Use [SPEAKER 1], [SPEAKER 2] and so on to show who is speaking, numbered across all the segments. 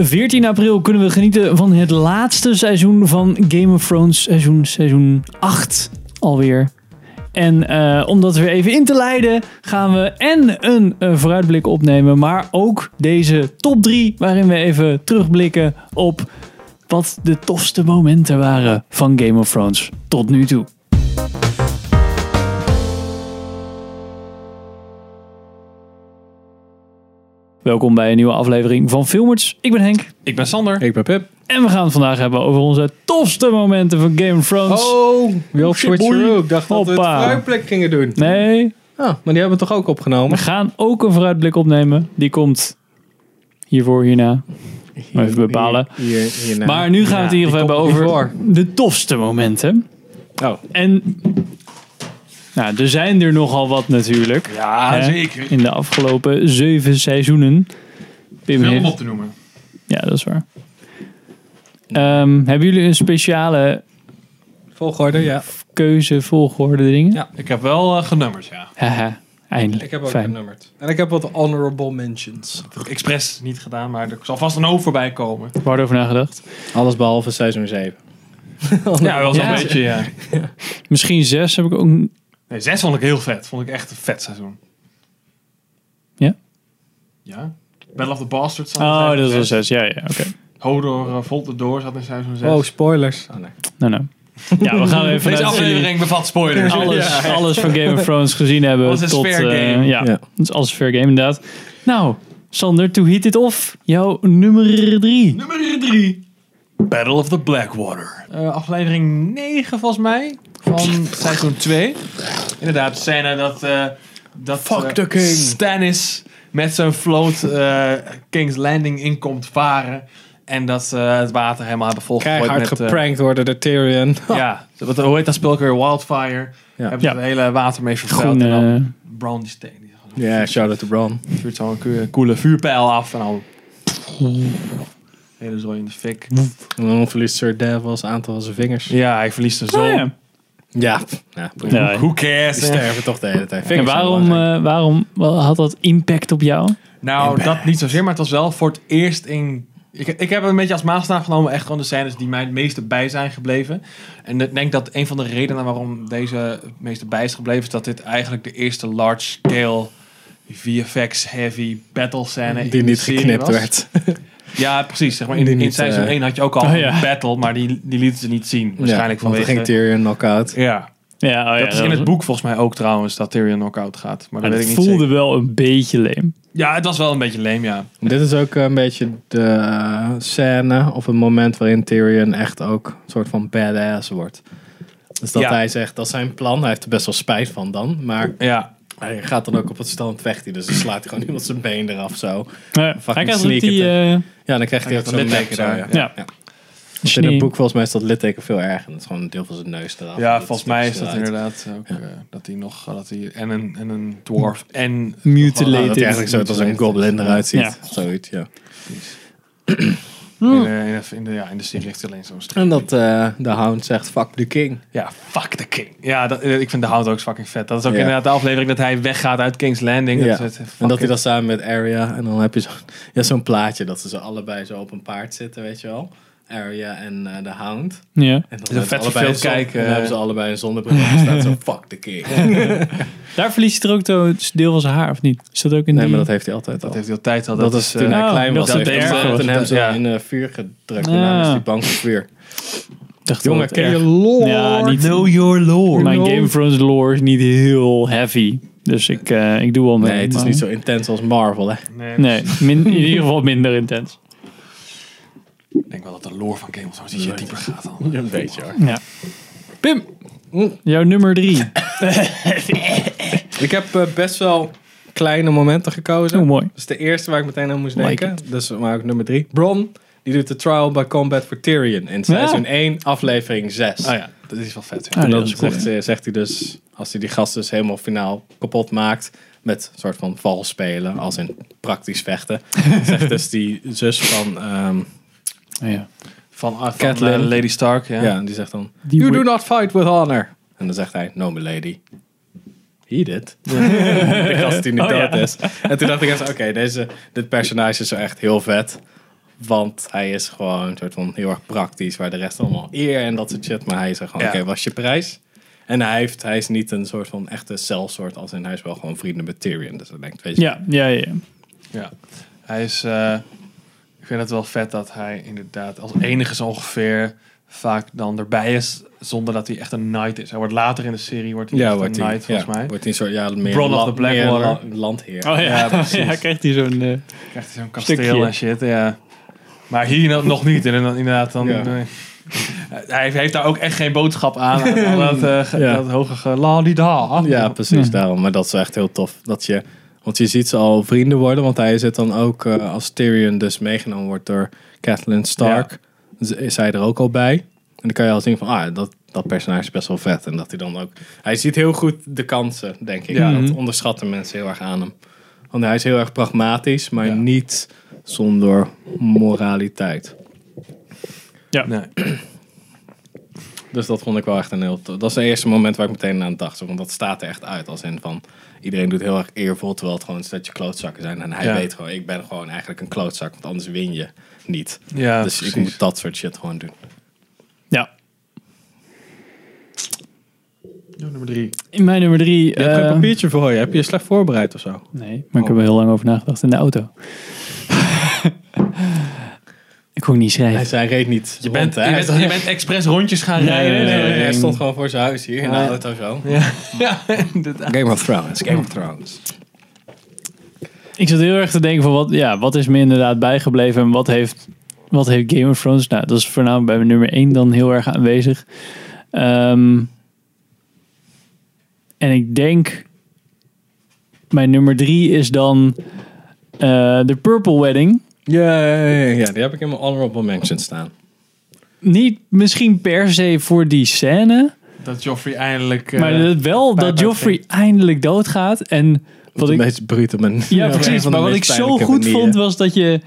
[SPEAKER 1] 14 april kunnen we genieten van het laatste seizoen van Game of Thrones, seizoen, seizoen 8 alweer. En eh, om dat weer even in te leiden, gaan we en een eh, vooruitblik opnemen, maar ook deze top 3, waarin we even terugblikken op wat de tofste momenten waren van Game of Thrones tot nu toe. Welkom bij een nieuwe aflevering van Filmers. Ik ben Henk.
[SPEAKER 2] Ik ben Sander.
[SPEAKER 3] Ik ben Pep.
[SPEAKER 1] En we gaan het vandaag hebben over onze tofste momenten van Game of Thrones.
[SPEAKER 3] Oh, wel
[SPEAKER 1] shit, boy.
[SPEAKER 3] switcheroo. Ik dacht dat we het
[SPEAKER 1] Hoppa.
[SPEAKER 3] vrijplek gingen doen.
[SPEAKER 1] Nee,
[SPEAKER 3] Ah, maar die hebben we toch ook
[SPEAKER 1] we
[SPEAKER 3] opgenomen?
[SPEAKER 1] gaan ook een vooruitblik opnemen. Die komt hiervoor, hierna. Maar even bepalen.
[SPEAKER 3] Hier, hier, nou. hierna.
[SPEAKER 1] Maar nu gaan we het in ieder geval hebben
[SPEAKER 3] die komt
[SPEAKER 1] over de tofste momenten.
[SPEAKER 3] Oh.
[SPEAKER 1] En nou, er zijn er nogal wat natuurlijk.
[SPEAKER 2] Ja,
[SPEAKER 1] Hè?
[SPEAKER 2] zeker.
[SPEAKER 1] In de afgelopen zeven seizoenen. Pim
[SPEAKER 2] Veel om
[SPEAKER 1] heeft-
[SPEAKER 2] op te noemen.
[SPEAKER 1] Ja, dat is waar. Ehm, hebben jullie een speciale
[SPEAKER 3] Volgorde, ja.
[SPEAKER 1] keuze, volgorde dingen?
[SPEAKER 3] Ja.
[SPEAKER 2] Ik heb wel eh, genummerd, ja.
[SPEAKER 1] Haha, eindelijk.
[SPEAKER 3] Ik heb ook eh,
[SPEAKER 1] Fijn.
[SPEAKER 3] genummerd. En ik heb wat honorable mentions.
[SPEAKER 2] Heb ik expres niet gedaan, maar er zal vast een hoofd voorbij komen.
[SPEAKER 1] Waar over nagedacht?
[SPEAKER 3] Alles behalve seizoen 7.
[SPEAKER 2] Ja, wel zo'n
[SPEAKER 1] Oh, Ja.
[SPEAKER 2] beetje, ja.
[SPEAKER 1] Misschien zes heb ik
[SPEAKER 3] Oh,
[SPEAKER 1] ook.
[SPEAKER 2] Nee, zes vond ik heel vet. Vond ik echt een vet seizoen.
[SPEAKER 1] Ja?
[SPEAKER 2] Ja. Battle of the Bastards. zat in
[SPEAKER 1] Oh,
[SPEAKER 2] seizoen
[SPEAKER 1] dat is wel
[SPEAKER 2] zes.
[SPEAKER 1] zes. Ja, ja, oké.
[SPEAKER 2] Hodor eh, Volt the Door zat in seizoen 6.
[SPEAKER 3] Oh, spoilers. Ah, nee.
[SPEAKER 1] Nou, nou. Ja, we gaan even vanuit
[SPEAKER 2] Deze
[SPEAKER 1] jullie
[SPEAKER 2] aflevering bevat spoilers.
[SPEAKER 1] alles, alles van Game of Thrones gezien hebben.
[SPEAKER 2] Alles is
[SPEAKER 1] tot,
[SPEAKER 2] fair
[SPEAKER 1] eh,
[SPEAKER 2] game.
[SPEAKER 1] ja,
[SPEAKER 3] Ja.
[SPEAKER 1] dat is alles fair game inderdaad. Nou, Sander, to hit it off. Jouw nummer drie.
[SPEAKER 2] Nummer 3. Battle of the Blackwater. Eh, aflevering 9 volgens mij. Van seizoen 2. Inderdaad, scène dat... eh, dat
[SPEAKER 3] Fuck
[SPEAKER 2] eh,
[SPEAKER 3] the king.
[SPEAKER 2] Stannis met zijn vloot eh, King's Landing inkomt varen. En dat ze het water helemaal hebben volgegooid
[SPEAKER 3] Keihard
[SPEAKER 2] met... eh,
[SPEAKER 3] geprankt worden door Tyrion.
[SPEAKER 2] ja, wat, hoe heet dat spel ook weer? Wildfire.
[SPEAKER 3] Ja.
[SPEAKER 2] Hebben ze
[SPEAKER 1] Ja.
[SPEAKER 2] het hele water mee vervuild.
[SPEAKER 1] Groen,
[SPEAKER 2] en dan
[SPEAKER 1] eh,
[SPEAKER 2] Bran die steen. Die
[SPEAKER 3] Ja, shout out to Bron.
[SPEAKER 2] vuurt zo'n coo- coole vuurpijl af. En dan... Hele zooi in de fik.
[SPEAKER 3] En dan verliest Sir Davos een aantal van zijn vingers.
[SPEAKER 2] Ja, hij verliest de zon.
[SPEAKER 1] nou ja.
[SPEAKER 3] Ja. ja boeien.
[SPEAKER 1] Ja.
[SPEAKER 2] Who cares?
[SPEAKER 3] Die sterven toch de hele tijd.
[SPEAKER 1] En
[SPEAKER 3] Vingers zijn
[SPEAKER 1] waarom,
[SPEAKER 3] belangrijk.
[SPEAKER 1] eh, waarom had dat impact op jou?
[SPEAKER 2] Nou, dat niet zozeer, maar het was wel voor het eerst in... Ik, ik heb een beetje als maatstaf genomen echt gewoon de scènes die mij het meeste bij zijn gebleven. En ik denk dat een van de redenen waarom deze het meeste bij is gebleven... is dat dit eigenlijk de eerste large-scale VFX-heavy battle scène
[SPEAKER 3] die
[SPEAKER 2] in de
[SPEAKER 3] niet
[SPEAKER 2] serie
[SPEAKER 3] geknipt
[SPEAKER 2] was.
[SPEAKER 3] werd.
[SPEAKER 2] Ja, precies. Zeg maar, in,
[SPEAKER 3] Die
[SPEAKER 2] in
[SPEAKER 3] niet,
[SPEAKER 2] seizoen
[SPEAKER 3] eh,
[SPEAKER 2] 1 had je ook al
[SPEAKER 1] Oh, ja.
[SPEAKER 2] een battle, maar die, die lieten ze niet zien. Waarschijnlijk
[SPEAKER 3] Ja, want
[SPEAKER 2] vanwege...
[SPEAKER 3] dan ging Tyrion knock-out.
[SPEAKER 2] Oh, ja,
[SPEAKER 1] Ja,
[SPEAKER 2] dat is in het boek volgens mij ook trouwens, dat Tyrion knock-out gaat. Maar dat
[SPEAKER 1] Het
[SPEAKER 2] weet ik niet
[SPEAKER 1] voelde
[SPEAKER 2] zeker.
[SPEAKER 1] wel een beetje leem.
[SPEAKER 2] Ja, het was wel een beetje leem, ja.
[SPEAKER 3] Dit is ook een beetje de eh, scène of een moment waarin Tyrion echt ook een soort van badass wordt. Dus dat
[SPEAKER 2] Ja.
[SPEAKER 3] hij zegt, dat is zijn plan. Hij heeft er best wel spijt van dan. Maar
[SPEAKER 2] Ja,
[SPEAKER 3] hij gaat dan ook op het stand vecht hij. Dus dan slaat hij gewoon iemand zijn been eraf zo.
[SPEAKER 1] Ja, hij krijgt ook
[SPEAKER 3] sneaker
[SPEAKER 1] die... eh,
[SPEAKER 3] Ja, dan krijgt hij ook
[SPEAKER 2] krijgt
[SPEAKER 3] zo'n
[SPEAKER 2] een
[SPEAKER 3] nek
[SPEAKER 2] litteken
[SPEAKER 3] zo.
[SPEAKER 2] daar,
[SPEAKER 3] Ja.
[SPEAKER 2] ja.
[SPEAKER 1] ja.
[SPEAKER 3] Ja. Want in
[SPEAKER 1] Snee.
[SPEAKER 3] het boek volgens mij is dat litteken veel erger. Dat is gewoon een deel van zijn neus eraf.
[SPEAKER 2] Ja,
[SPEAKER 3] En
[SPEAKER 2] volgens mij is
[SPEAKER 3] stikt
[SPEAKER 2] dat
[SPEAKER 3] eruit.
[SPEAKER 2] inderdaad ook eh, dat hij nog dat hij en een en een dwarf en
[SPEAKER 3] Nou,
[SPEAKER 1] Mutilated.
[SPEAKER 3] dat hij eigenlijk zo als een goblin eruit ziet.
[SPEAKER 1] Ja.
[SPEAKER 3] Zoiets, ja.
[SPEAKER 2] in, eh, in, de- in de ja in de serie heeft hij alleen zo'n streep.
[SPEAKER 3] En dat eh, de hound zegt, fuck the king.
[SPEAKER 2] Ja, fuck the king. Ja, dat, eh, ik vind de hound ook fucking vet. Dat is ook
[SPEAKER 3] Ja.
[SPEAKER 2] inderdaad de aflevering dat hij weggaat uit King's Landing.
[SPEAKER 3] Ja.
[SPEAKER 2] Dat is het,
[SPEAKER 3] En dat
[SPEAKER 2] fucking-
[SPEAKER 3] hij dat samen met Arya. En dan heb je zo'n ja, zo'n plaatje dat ze zo allebei zo op een paard zitten, weet je wel. Arya en eh, de Hound.
[SPEAKER 1] Ja.
[SPEAKER 3] En dan
[SPEAKER 2] een
[SPEAKER 3] hebben ze
[SPEAKER 2] vet
[SPEAKER 3] allebei
[SPEAKER 2] verveeld
[SPEAKER 3] een zon-
[SPEAKER 2] kijken.
[SPEAKER 3] En dan hebben ze allebei een zonnebril. En staat zo, fuck the king.
[SPEAKER 1] Daar verliest hij er ook een deel van zijn haar, of niet? Is dat ook in
[SPEAKER 3] Nee,
[SPEAKER 1] die...
[SPEAKER 3] maar dat heeft hij altijd al.
[SPEAKER 2] dat heeft hij altijd al.
[SPEAKER 3] Dat, is toen
[SPEAKER 2] eh,
[SPEAKER 3] hij
[SPEAKER 1] oh,
[SPEAKER 3] klein
[SPEAKER 1] dat
[SPEAKER 3] was.
[SPEAKER 1] is
[SPEAKER 3] heeft
[SPEAKER 1] het
[SPEAKER 3] hij
[SPEAKER 1] ergste
[SPEAKER 3] altijd
[SPEAKER 2] wat
[SPEAKER 3] Toen
[SPEAKER 2] het-
[SPEAKER 3] hebben ze
[SPEAKER 2] ja.
[SPEAKER 3] in eh, vuur gedrukt. En daarna is
[SPEAKER 1] Ah.
[SPEAKER 3] hij bang voor vuur.
[SPEAKER 1] dacht wel
[SPEAKER 3] Jongen,
[SPEAKER 1] dat
[SPEAKER 3] ken
[SPEAKER 1] erg-
[SPEAKER 3] je lore?
[SPEAKER 1] Ja, niet-
[SPEAKER 2] Know your lore.
[SPEAKER 1] Mijn
[SPEAKER 3] Lore.
[SPEAKER 1] Game of Thrones lore is niet heel heavy. Dus ik, eh, ik doe wel mee.
[SPEAKER 3] Nee, het is
[SPEAKER 1] maar-
[SPEAKER 3] niet zo intens als Marvel, hè.
[SPEAKER 2] Nee,
[SPEAKER 1] Nee, min- in ieder geval minder intens.
[SPEAKER 2] Ik denk wel dat de lore van Game of Thrones ietsje dieper gaat dan.
[SPEAKER 3] Een beetje, hoor.
[SPEAKER 1] Ja. Pim, jouw nummer drie.
[SPEAKER 3] Ik heb eh, best wel kleine momenten gekozen.
[SPEAKER 1] Zo mooi.
[SPEAKER 3] Dat is de eerste waar ik meteen aan moest
[SPEAKER 1] Like
[SPEAKER 3] denken. Dus maar ook nummer drie. Bron, die doet de trial by combat for Tyrion in seizoen 1, aflevering 6.
[SPEAKER 2] Oh ja, dat is wel vet.
[SPEAKER 1] Ah,
[SPEAKER 2] Ja.
[SPEAKER 3] En
[SPEAKER 1] nee,
[SPEAKER 3] dan
[SPEAKER 1] dat is cool.
[SPEAKER 3] zegt, ze- zegt hij dus, als hij die gast dus helemaal finaal kapot maakt, met een soort van vals spelen, als in praktisch vechten, zegt dus die zus van, ehm,
[SPEAKER 1] Oh Ja.
[SPEAKER 2] Van, van
[SPEAKER 3] Catelyn.
[SPEAKER 2] eh, Lady Stark. Ja.
[SPEAKER 3] ja. die zegt dan,
[SPEAKER 1] Die
[SPEAKER 3] you
[SPEAKER 1] wi-
[SPEAKER 3] do not fight with honor. En dan zegt hij, no milady. He did. de gast die nu
[SPEAKER 1] Oh,
[SPEAKER 3] dood
[SPEAKER 1] ja.
[SPEAKER 3] is. En toen dacht ik, eens, oké, deze dit personage is wel echt heel vet. Want hij is gewoon een soort van heel erg praktisch, waar de rest allemaal eer en dat soort shit. Maar hij is er gewoon,
[SPEAKER 2] Ja.
[SPEAKER 3] oké, was je prijs? En hij, heeft, hij is niet een soort van echte celsoort, als in hij is wel gewoon vrienden met Tyrion. Dus dat denkt, weet je,
[SPEAKER 1] Ja, ja, ja. ja.
[SPEAKER 2] Ja. Hij is. eh, ik vind het wel vet dat hij inderdaad als enige zo ongeveer vaak dan erbij is. Zonder dat hij echt een knight is. Hij wordt later in de serie wordt hij echt
[SPEAKER 3] wordt
[SPEAKER 2] een
[SPEAKER 3] hij-
[SPEAKER 2] knight, volgens
[SPEAKER 3] ja,
[SPEAKER 2] mij.
[SPEAKER 3] Wordt hij een soort, ja, meer
[SPEAKER 2] Bron of
[SPEAKER 3] la-
[SPEAKER 2] the Blackwater.
[SPEAKER 3] meer la- landheer.
[SPEAKER 1] Oh ja,
[SPEAKER 2] Ja,
[SPEAKER 1] ja,
[SPEAKER 2] precies.
[SPEAKER 1] krijgt hij zo'n... eh,
[SPEAKER 2] Krijgt hij zo'n kasteel
[SPEAKER 1] Stukje.
[SPEAKER 2] en shit, ja. Maar hier no- nog niet. En dan, inderdaad, dan...
[SPEAKER 3] Ja.
[SPEAKER 2] nee. Hij heeft daar ook echt geen boodschap aan. aan dat, eh, ge-
[SPEAKER 3] Ja.
[SPEAKER 2] dat hoge ge- la di da.
[SPEAKER 3] Ja, precies daarom. Maar dat is echt heel tof. Dat je, want je ziet ze al vrienden worden. Want hij zit dan ook, eh, als Tyrion dus meegenomen wordt door Catelyn Stark, z- is hij er ook al bij. En dan kan je al zien van, ah, dat, dat personage is best wel vet. En dat hij dan ook... Hij ziet heel goed de kansen, denk ik.
[SPEAKER 1] Ja.
[SPEAKER 3] Dat
[SPEAKER 1] Mhm.
[SPEAKER 3] onderschatten mensen heel erg aan hem. Want hij is heel erg pragmatisch, maar
[SPEAKER 2] Ja.
[SPEAKER 3] niet zonder moraliteit.
[SPEAKER 2] Nee.
[SPEAKER 3] Dus dat vond ik wel echt een heel... to- Dat is het eerste moment waar ik meteen aan dacht. zo, Want dat staat er echt uit. Als in van... Iedereen doet heel erg eervol, terwijl het gewoon een setje klootzakken zijn. En hij
[SPEAKER 2] Ja.
[SPEAKER 3] weet gewoon, ik ben gewoon eigenlijk een klootzak. Want anders win je niet.
[SPEAKER 2] Ja,
[SPEAKER 3] dus ik
[SPEAKER 2] precies.
[SPEAKER 3] moet dat soort shit gewoon doen.
[SPEAKER 1] ja.
[SPEAKER 2] Ja, nummer drie.
[SPEAKER 1] In mijn nummer drie... eh,
[SPEAKER 3] voor je. Heb je je slecht voorbereid of zo?
[SPEAKER 1] Nee, oh. maar ik heb er heel lang over nagedacht in de auto. ik kon niet
[SPEAKER 3] Hij,
[SPEAKER 1] schrijven.
[SPEAKER 3] zei, hij reed niet
[SPEAKER 2] Je bent,
[SPEAKER 3] rond, hè?
[SPEAKER 2] je bent, je bent expres rondjes gaan
[SPEAKER 1] Nee,
[SPEAKER 2] rijden.
[SPEAKER 1] nee,
[SPEAKER 3] Nee,
[SPEAKER 1] nee,
[SPEAKER 3] nee, Ah,
[SPEAKER 1] nee.
[SPEAKER 3] hij stond gewoon voor zijn huis hier in de
[SPEAKER 1] Ja.
[SPEAKER 3] auto zo.
[SPEAKER 2] Ja, ja inderdaad.
[SPEAKER 3] Game of Thrones, Game of Thrones.
[SPEAKER 1] Ik zat heel erg te denken van wat, ja, wat is me inderdaad bijgebleven en wat heeft, wat heeft Game of Thrones? Nou, dat is voornamelijk bij mijn nummer 1 dan heel erg aanwezig. Ehm, en ik denk, mijn nummer 3 is dan eh, de Purple Wedding.
[SPEAKER 3] Yay. Ja, die heb ik in mijn honorable mention staan.
[SPEAKER 1] Niet misschien per se voor die scène,
[SPEAKER 2] Dat Joffrey eindelijk... eh,
[SPEAKER 1] maar dat wel
[SPEAKER 2] pijp
[SPEAKER 1] dat Joffrey
[SPEAKER 2] uitging.
[SPEAKER 1] eindelijk doodgaat. En
[SPEAKER 3] Wat
[SPEAKER 1] wat
[SPEAKER 3] de
[SPEAKER 1] ik,
[SPEAKER 3] meest brute man.
[SPEAKER 1] Ja,
[SPEAKER 3] op een
[SPEAKER 1] precies.
[SPEAKER 3] van de
[SPEAKER 1] Maar wat
[SPEAKER 3] meest
[SPEAKER 1] ik zo
[SPEAKER 3] pijnlijke
[SPEAKER 1] goed
[SPEAKER 3] manieren.
[SPEAKER 1] vond was dat je.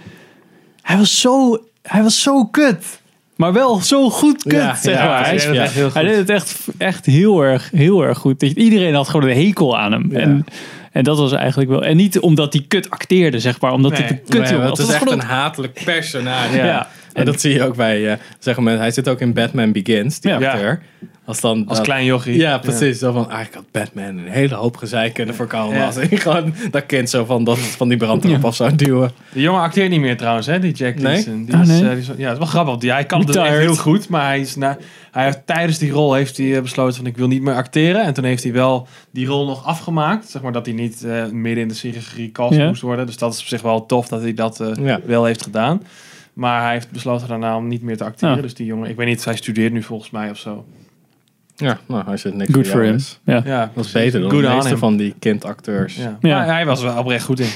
[SPEAKER 1] Hij was zo, hij was zo kut. Maar wel zo goed kut,
[SPEAKER 3] Ja,
[SPEAKER 1] zeg
[SPEAKER 3] ja,
[SPEAKER 1] maar.
[SPEAKER 2] hij
[SPEAKER 1] Hij,
[SPEAKER 2] deed
[SPEAKER 1] is-
[SPEAKER 2] het
[SPEAKER 3] ja.
[SPEAKER 2] echt heel
[SPEAKER 1] hij
[SPEAKER 2] goed.
[SPEAKER 1] deed het echt, echt heel, erg, heel erg goed. Dat je- Iedereen had gewoon een hekel aan hem.
[SPEAKER 3] Ja.
[SPEAKER 1] En, en dat was eigenlijk wel... En niet omdat hij kut acteerde, zeg maar. Omdat hij
[SPEAKER 2] Nee.
[SPEAKER 1] de kut
[SPEAKER 3] Nee,
[SPEAKER 1] jongen
[SPEAKER 3] want
[SPEAKER 1] was.
[SPEAKER 3] het is
[SPEAKER 1] Dat
[SPEAKER 3] echt
[SPEAKER 1] was
[SPEAKER 3] een
[SPEAKER 1] gewoon-
[SPEAKER 3] hatelijk personage.
[SPEAKER 1] Ja.
[SPEAKER 3] Ja. En dat zie je ook bij, eh, zeg maar, hij zit ook in Batman Begins, die
[SPEAKER 1] Ja.
[SPEAKER 3] acteur. Als dan
[SPEAKER 2] Als
[SPEAKER 3] dat-
[SPEAKER 2] klein jochie.
[SPEAKER 3] Ja, precies. Zo van, ah, ik had Batman een hele hoop gezeik kunnen voorkomen.
[SPEAKER 2] Ja.
[SPEAKER 3] Als ik gewoon dat kind zo van, dat, van die brandtrap af zou duwen.
[SPEAKER 2] De jongen acteert niet meer trouwens, hè, die Jack
[SPEAKER 3] Nee?
[SPEAKER 2] Dixon. Die
[SPEAKER 1] Ah,
[SPEAKER 2] is,
[SPEAKER 1] nee.
[SPEAKER 2] eh, die is- ja, het is wel grappig. want Die, hij kan het echt
[SPEAKER 1] Retired.
[SPEAKER 2] heel goed, maar hij is na, hij heeft, tijdens die rol heeft hij eh, besloten van ik wil niet meer acteren. En toen heeft hij wel die rol nog afgemaakt. Zeg maar dat hij niet eh, midden in de serie gerecast
[SPEAKER 1] Ja.
[SPEAKER 2] moest worden. Dus dat is op zich wel tof dat hij dat eh,
[SPEAKER 3] Ja.
[SPEAKER 2] wel heeft gedaan. Maar hij heeft besloten daarna om niet meer te acteren.
[SPEAKER 1] Ja.
[SPEAKER 2] Dus die jongen, ik weet niet, hij studeert nu volgens mij of zo.
[SPEAKER 3] Ja, nou, als je het niks
[SPEAKER 1] Good
[SPEAKER 3] voor
[SPEAKER 1] for
[SPEAKER 3] jou
[SPEAKER 1] him.
[SPEAKER 3] is.
[SPEAKER 1] Ja.
[SPEAKER 2] Ja,
[SPEAKER 3] Dat is beter dan
[SPEAKER 2] Good
[SPEAKER 3] de
[SPEAKER 2] on
[SPEAKER 3] meeste
[SPEAKER 2] him.
[SPEAKER 3] van die kindacteurs.
[SPEAKER 2] Ja.
[SPEAKER 1] Ja.
[SPEAKER 2] Maar hij was er wel oprecht goed in.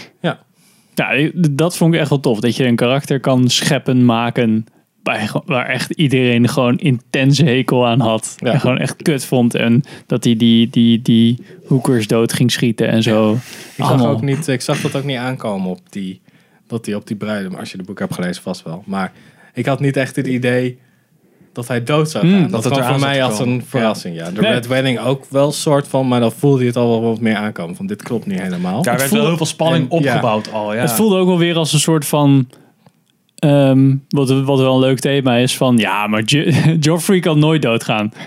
[SPEAKER 1] Ja, dat vond ik echt wel tof. Dat je een karakter kan scheppen, maken... Bij, gewoon- waar echt iedereen gewoon intense hekel aan had.
[SPEAKER 3] Ja.
[SPEAKER 1] En gewoon echt kut vond. En dat hij die, die, die hoekers dood ging schieten en zo.
[SPEAKER 3] Ik, zag
[SPEAKER 1] Allemaal.
[SPEAKER 3] ook niet, ik zag dat ook niet aankomen op die, dat die op die bruid, als je de boek hebt gelezen vast wel. Maar ik had niet echt het idee dat hij dood zou
[SPEAKER 1] Hmm,
[SPEAKER 3] gaan.
[SPEAKER 1] dat
[SPEAKER 3] dat
[SPEAKER 2] het
[SPEAKER 3] kwam voor
[SPEAKER 2] eraan
[SPEAKER 3] mij
[SPEAKER 2] zat te
[SPEAKER 3] als
[SPEAKER 2] komen.
[SPEAKER 3] een verrassing, ja. De
[SPEAKER 1] Nee.
[SPEAKER 3] Red Wedding ook wel soort van, maar dan voelde je het al wel wat meer aankomen. Van dit klopt niet helemaal.
[SPEAKER 1] Het
[SPEAKER 2] Daar werd
[SPEAKER 1] voelde-
[SPEAKER 2] wel heel veel spanning
[SPEAKER 3] en- ja.
[SPEAKER 2] opgebouwd al. Ja.
[SPEAKER 1] Het voelde ook wel weer als een soort van. ehm, wat, wat wel een leuk thema is van ja, maar Jo- Joffrey kan nooit doodgaan.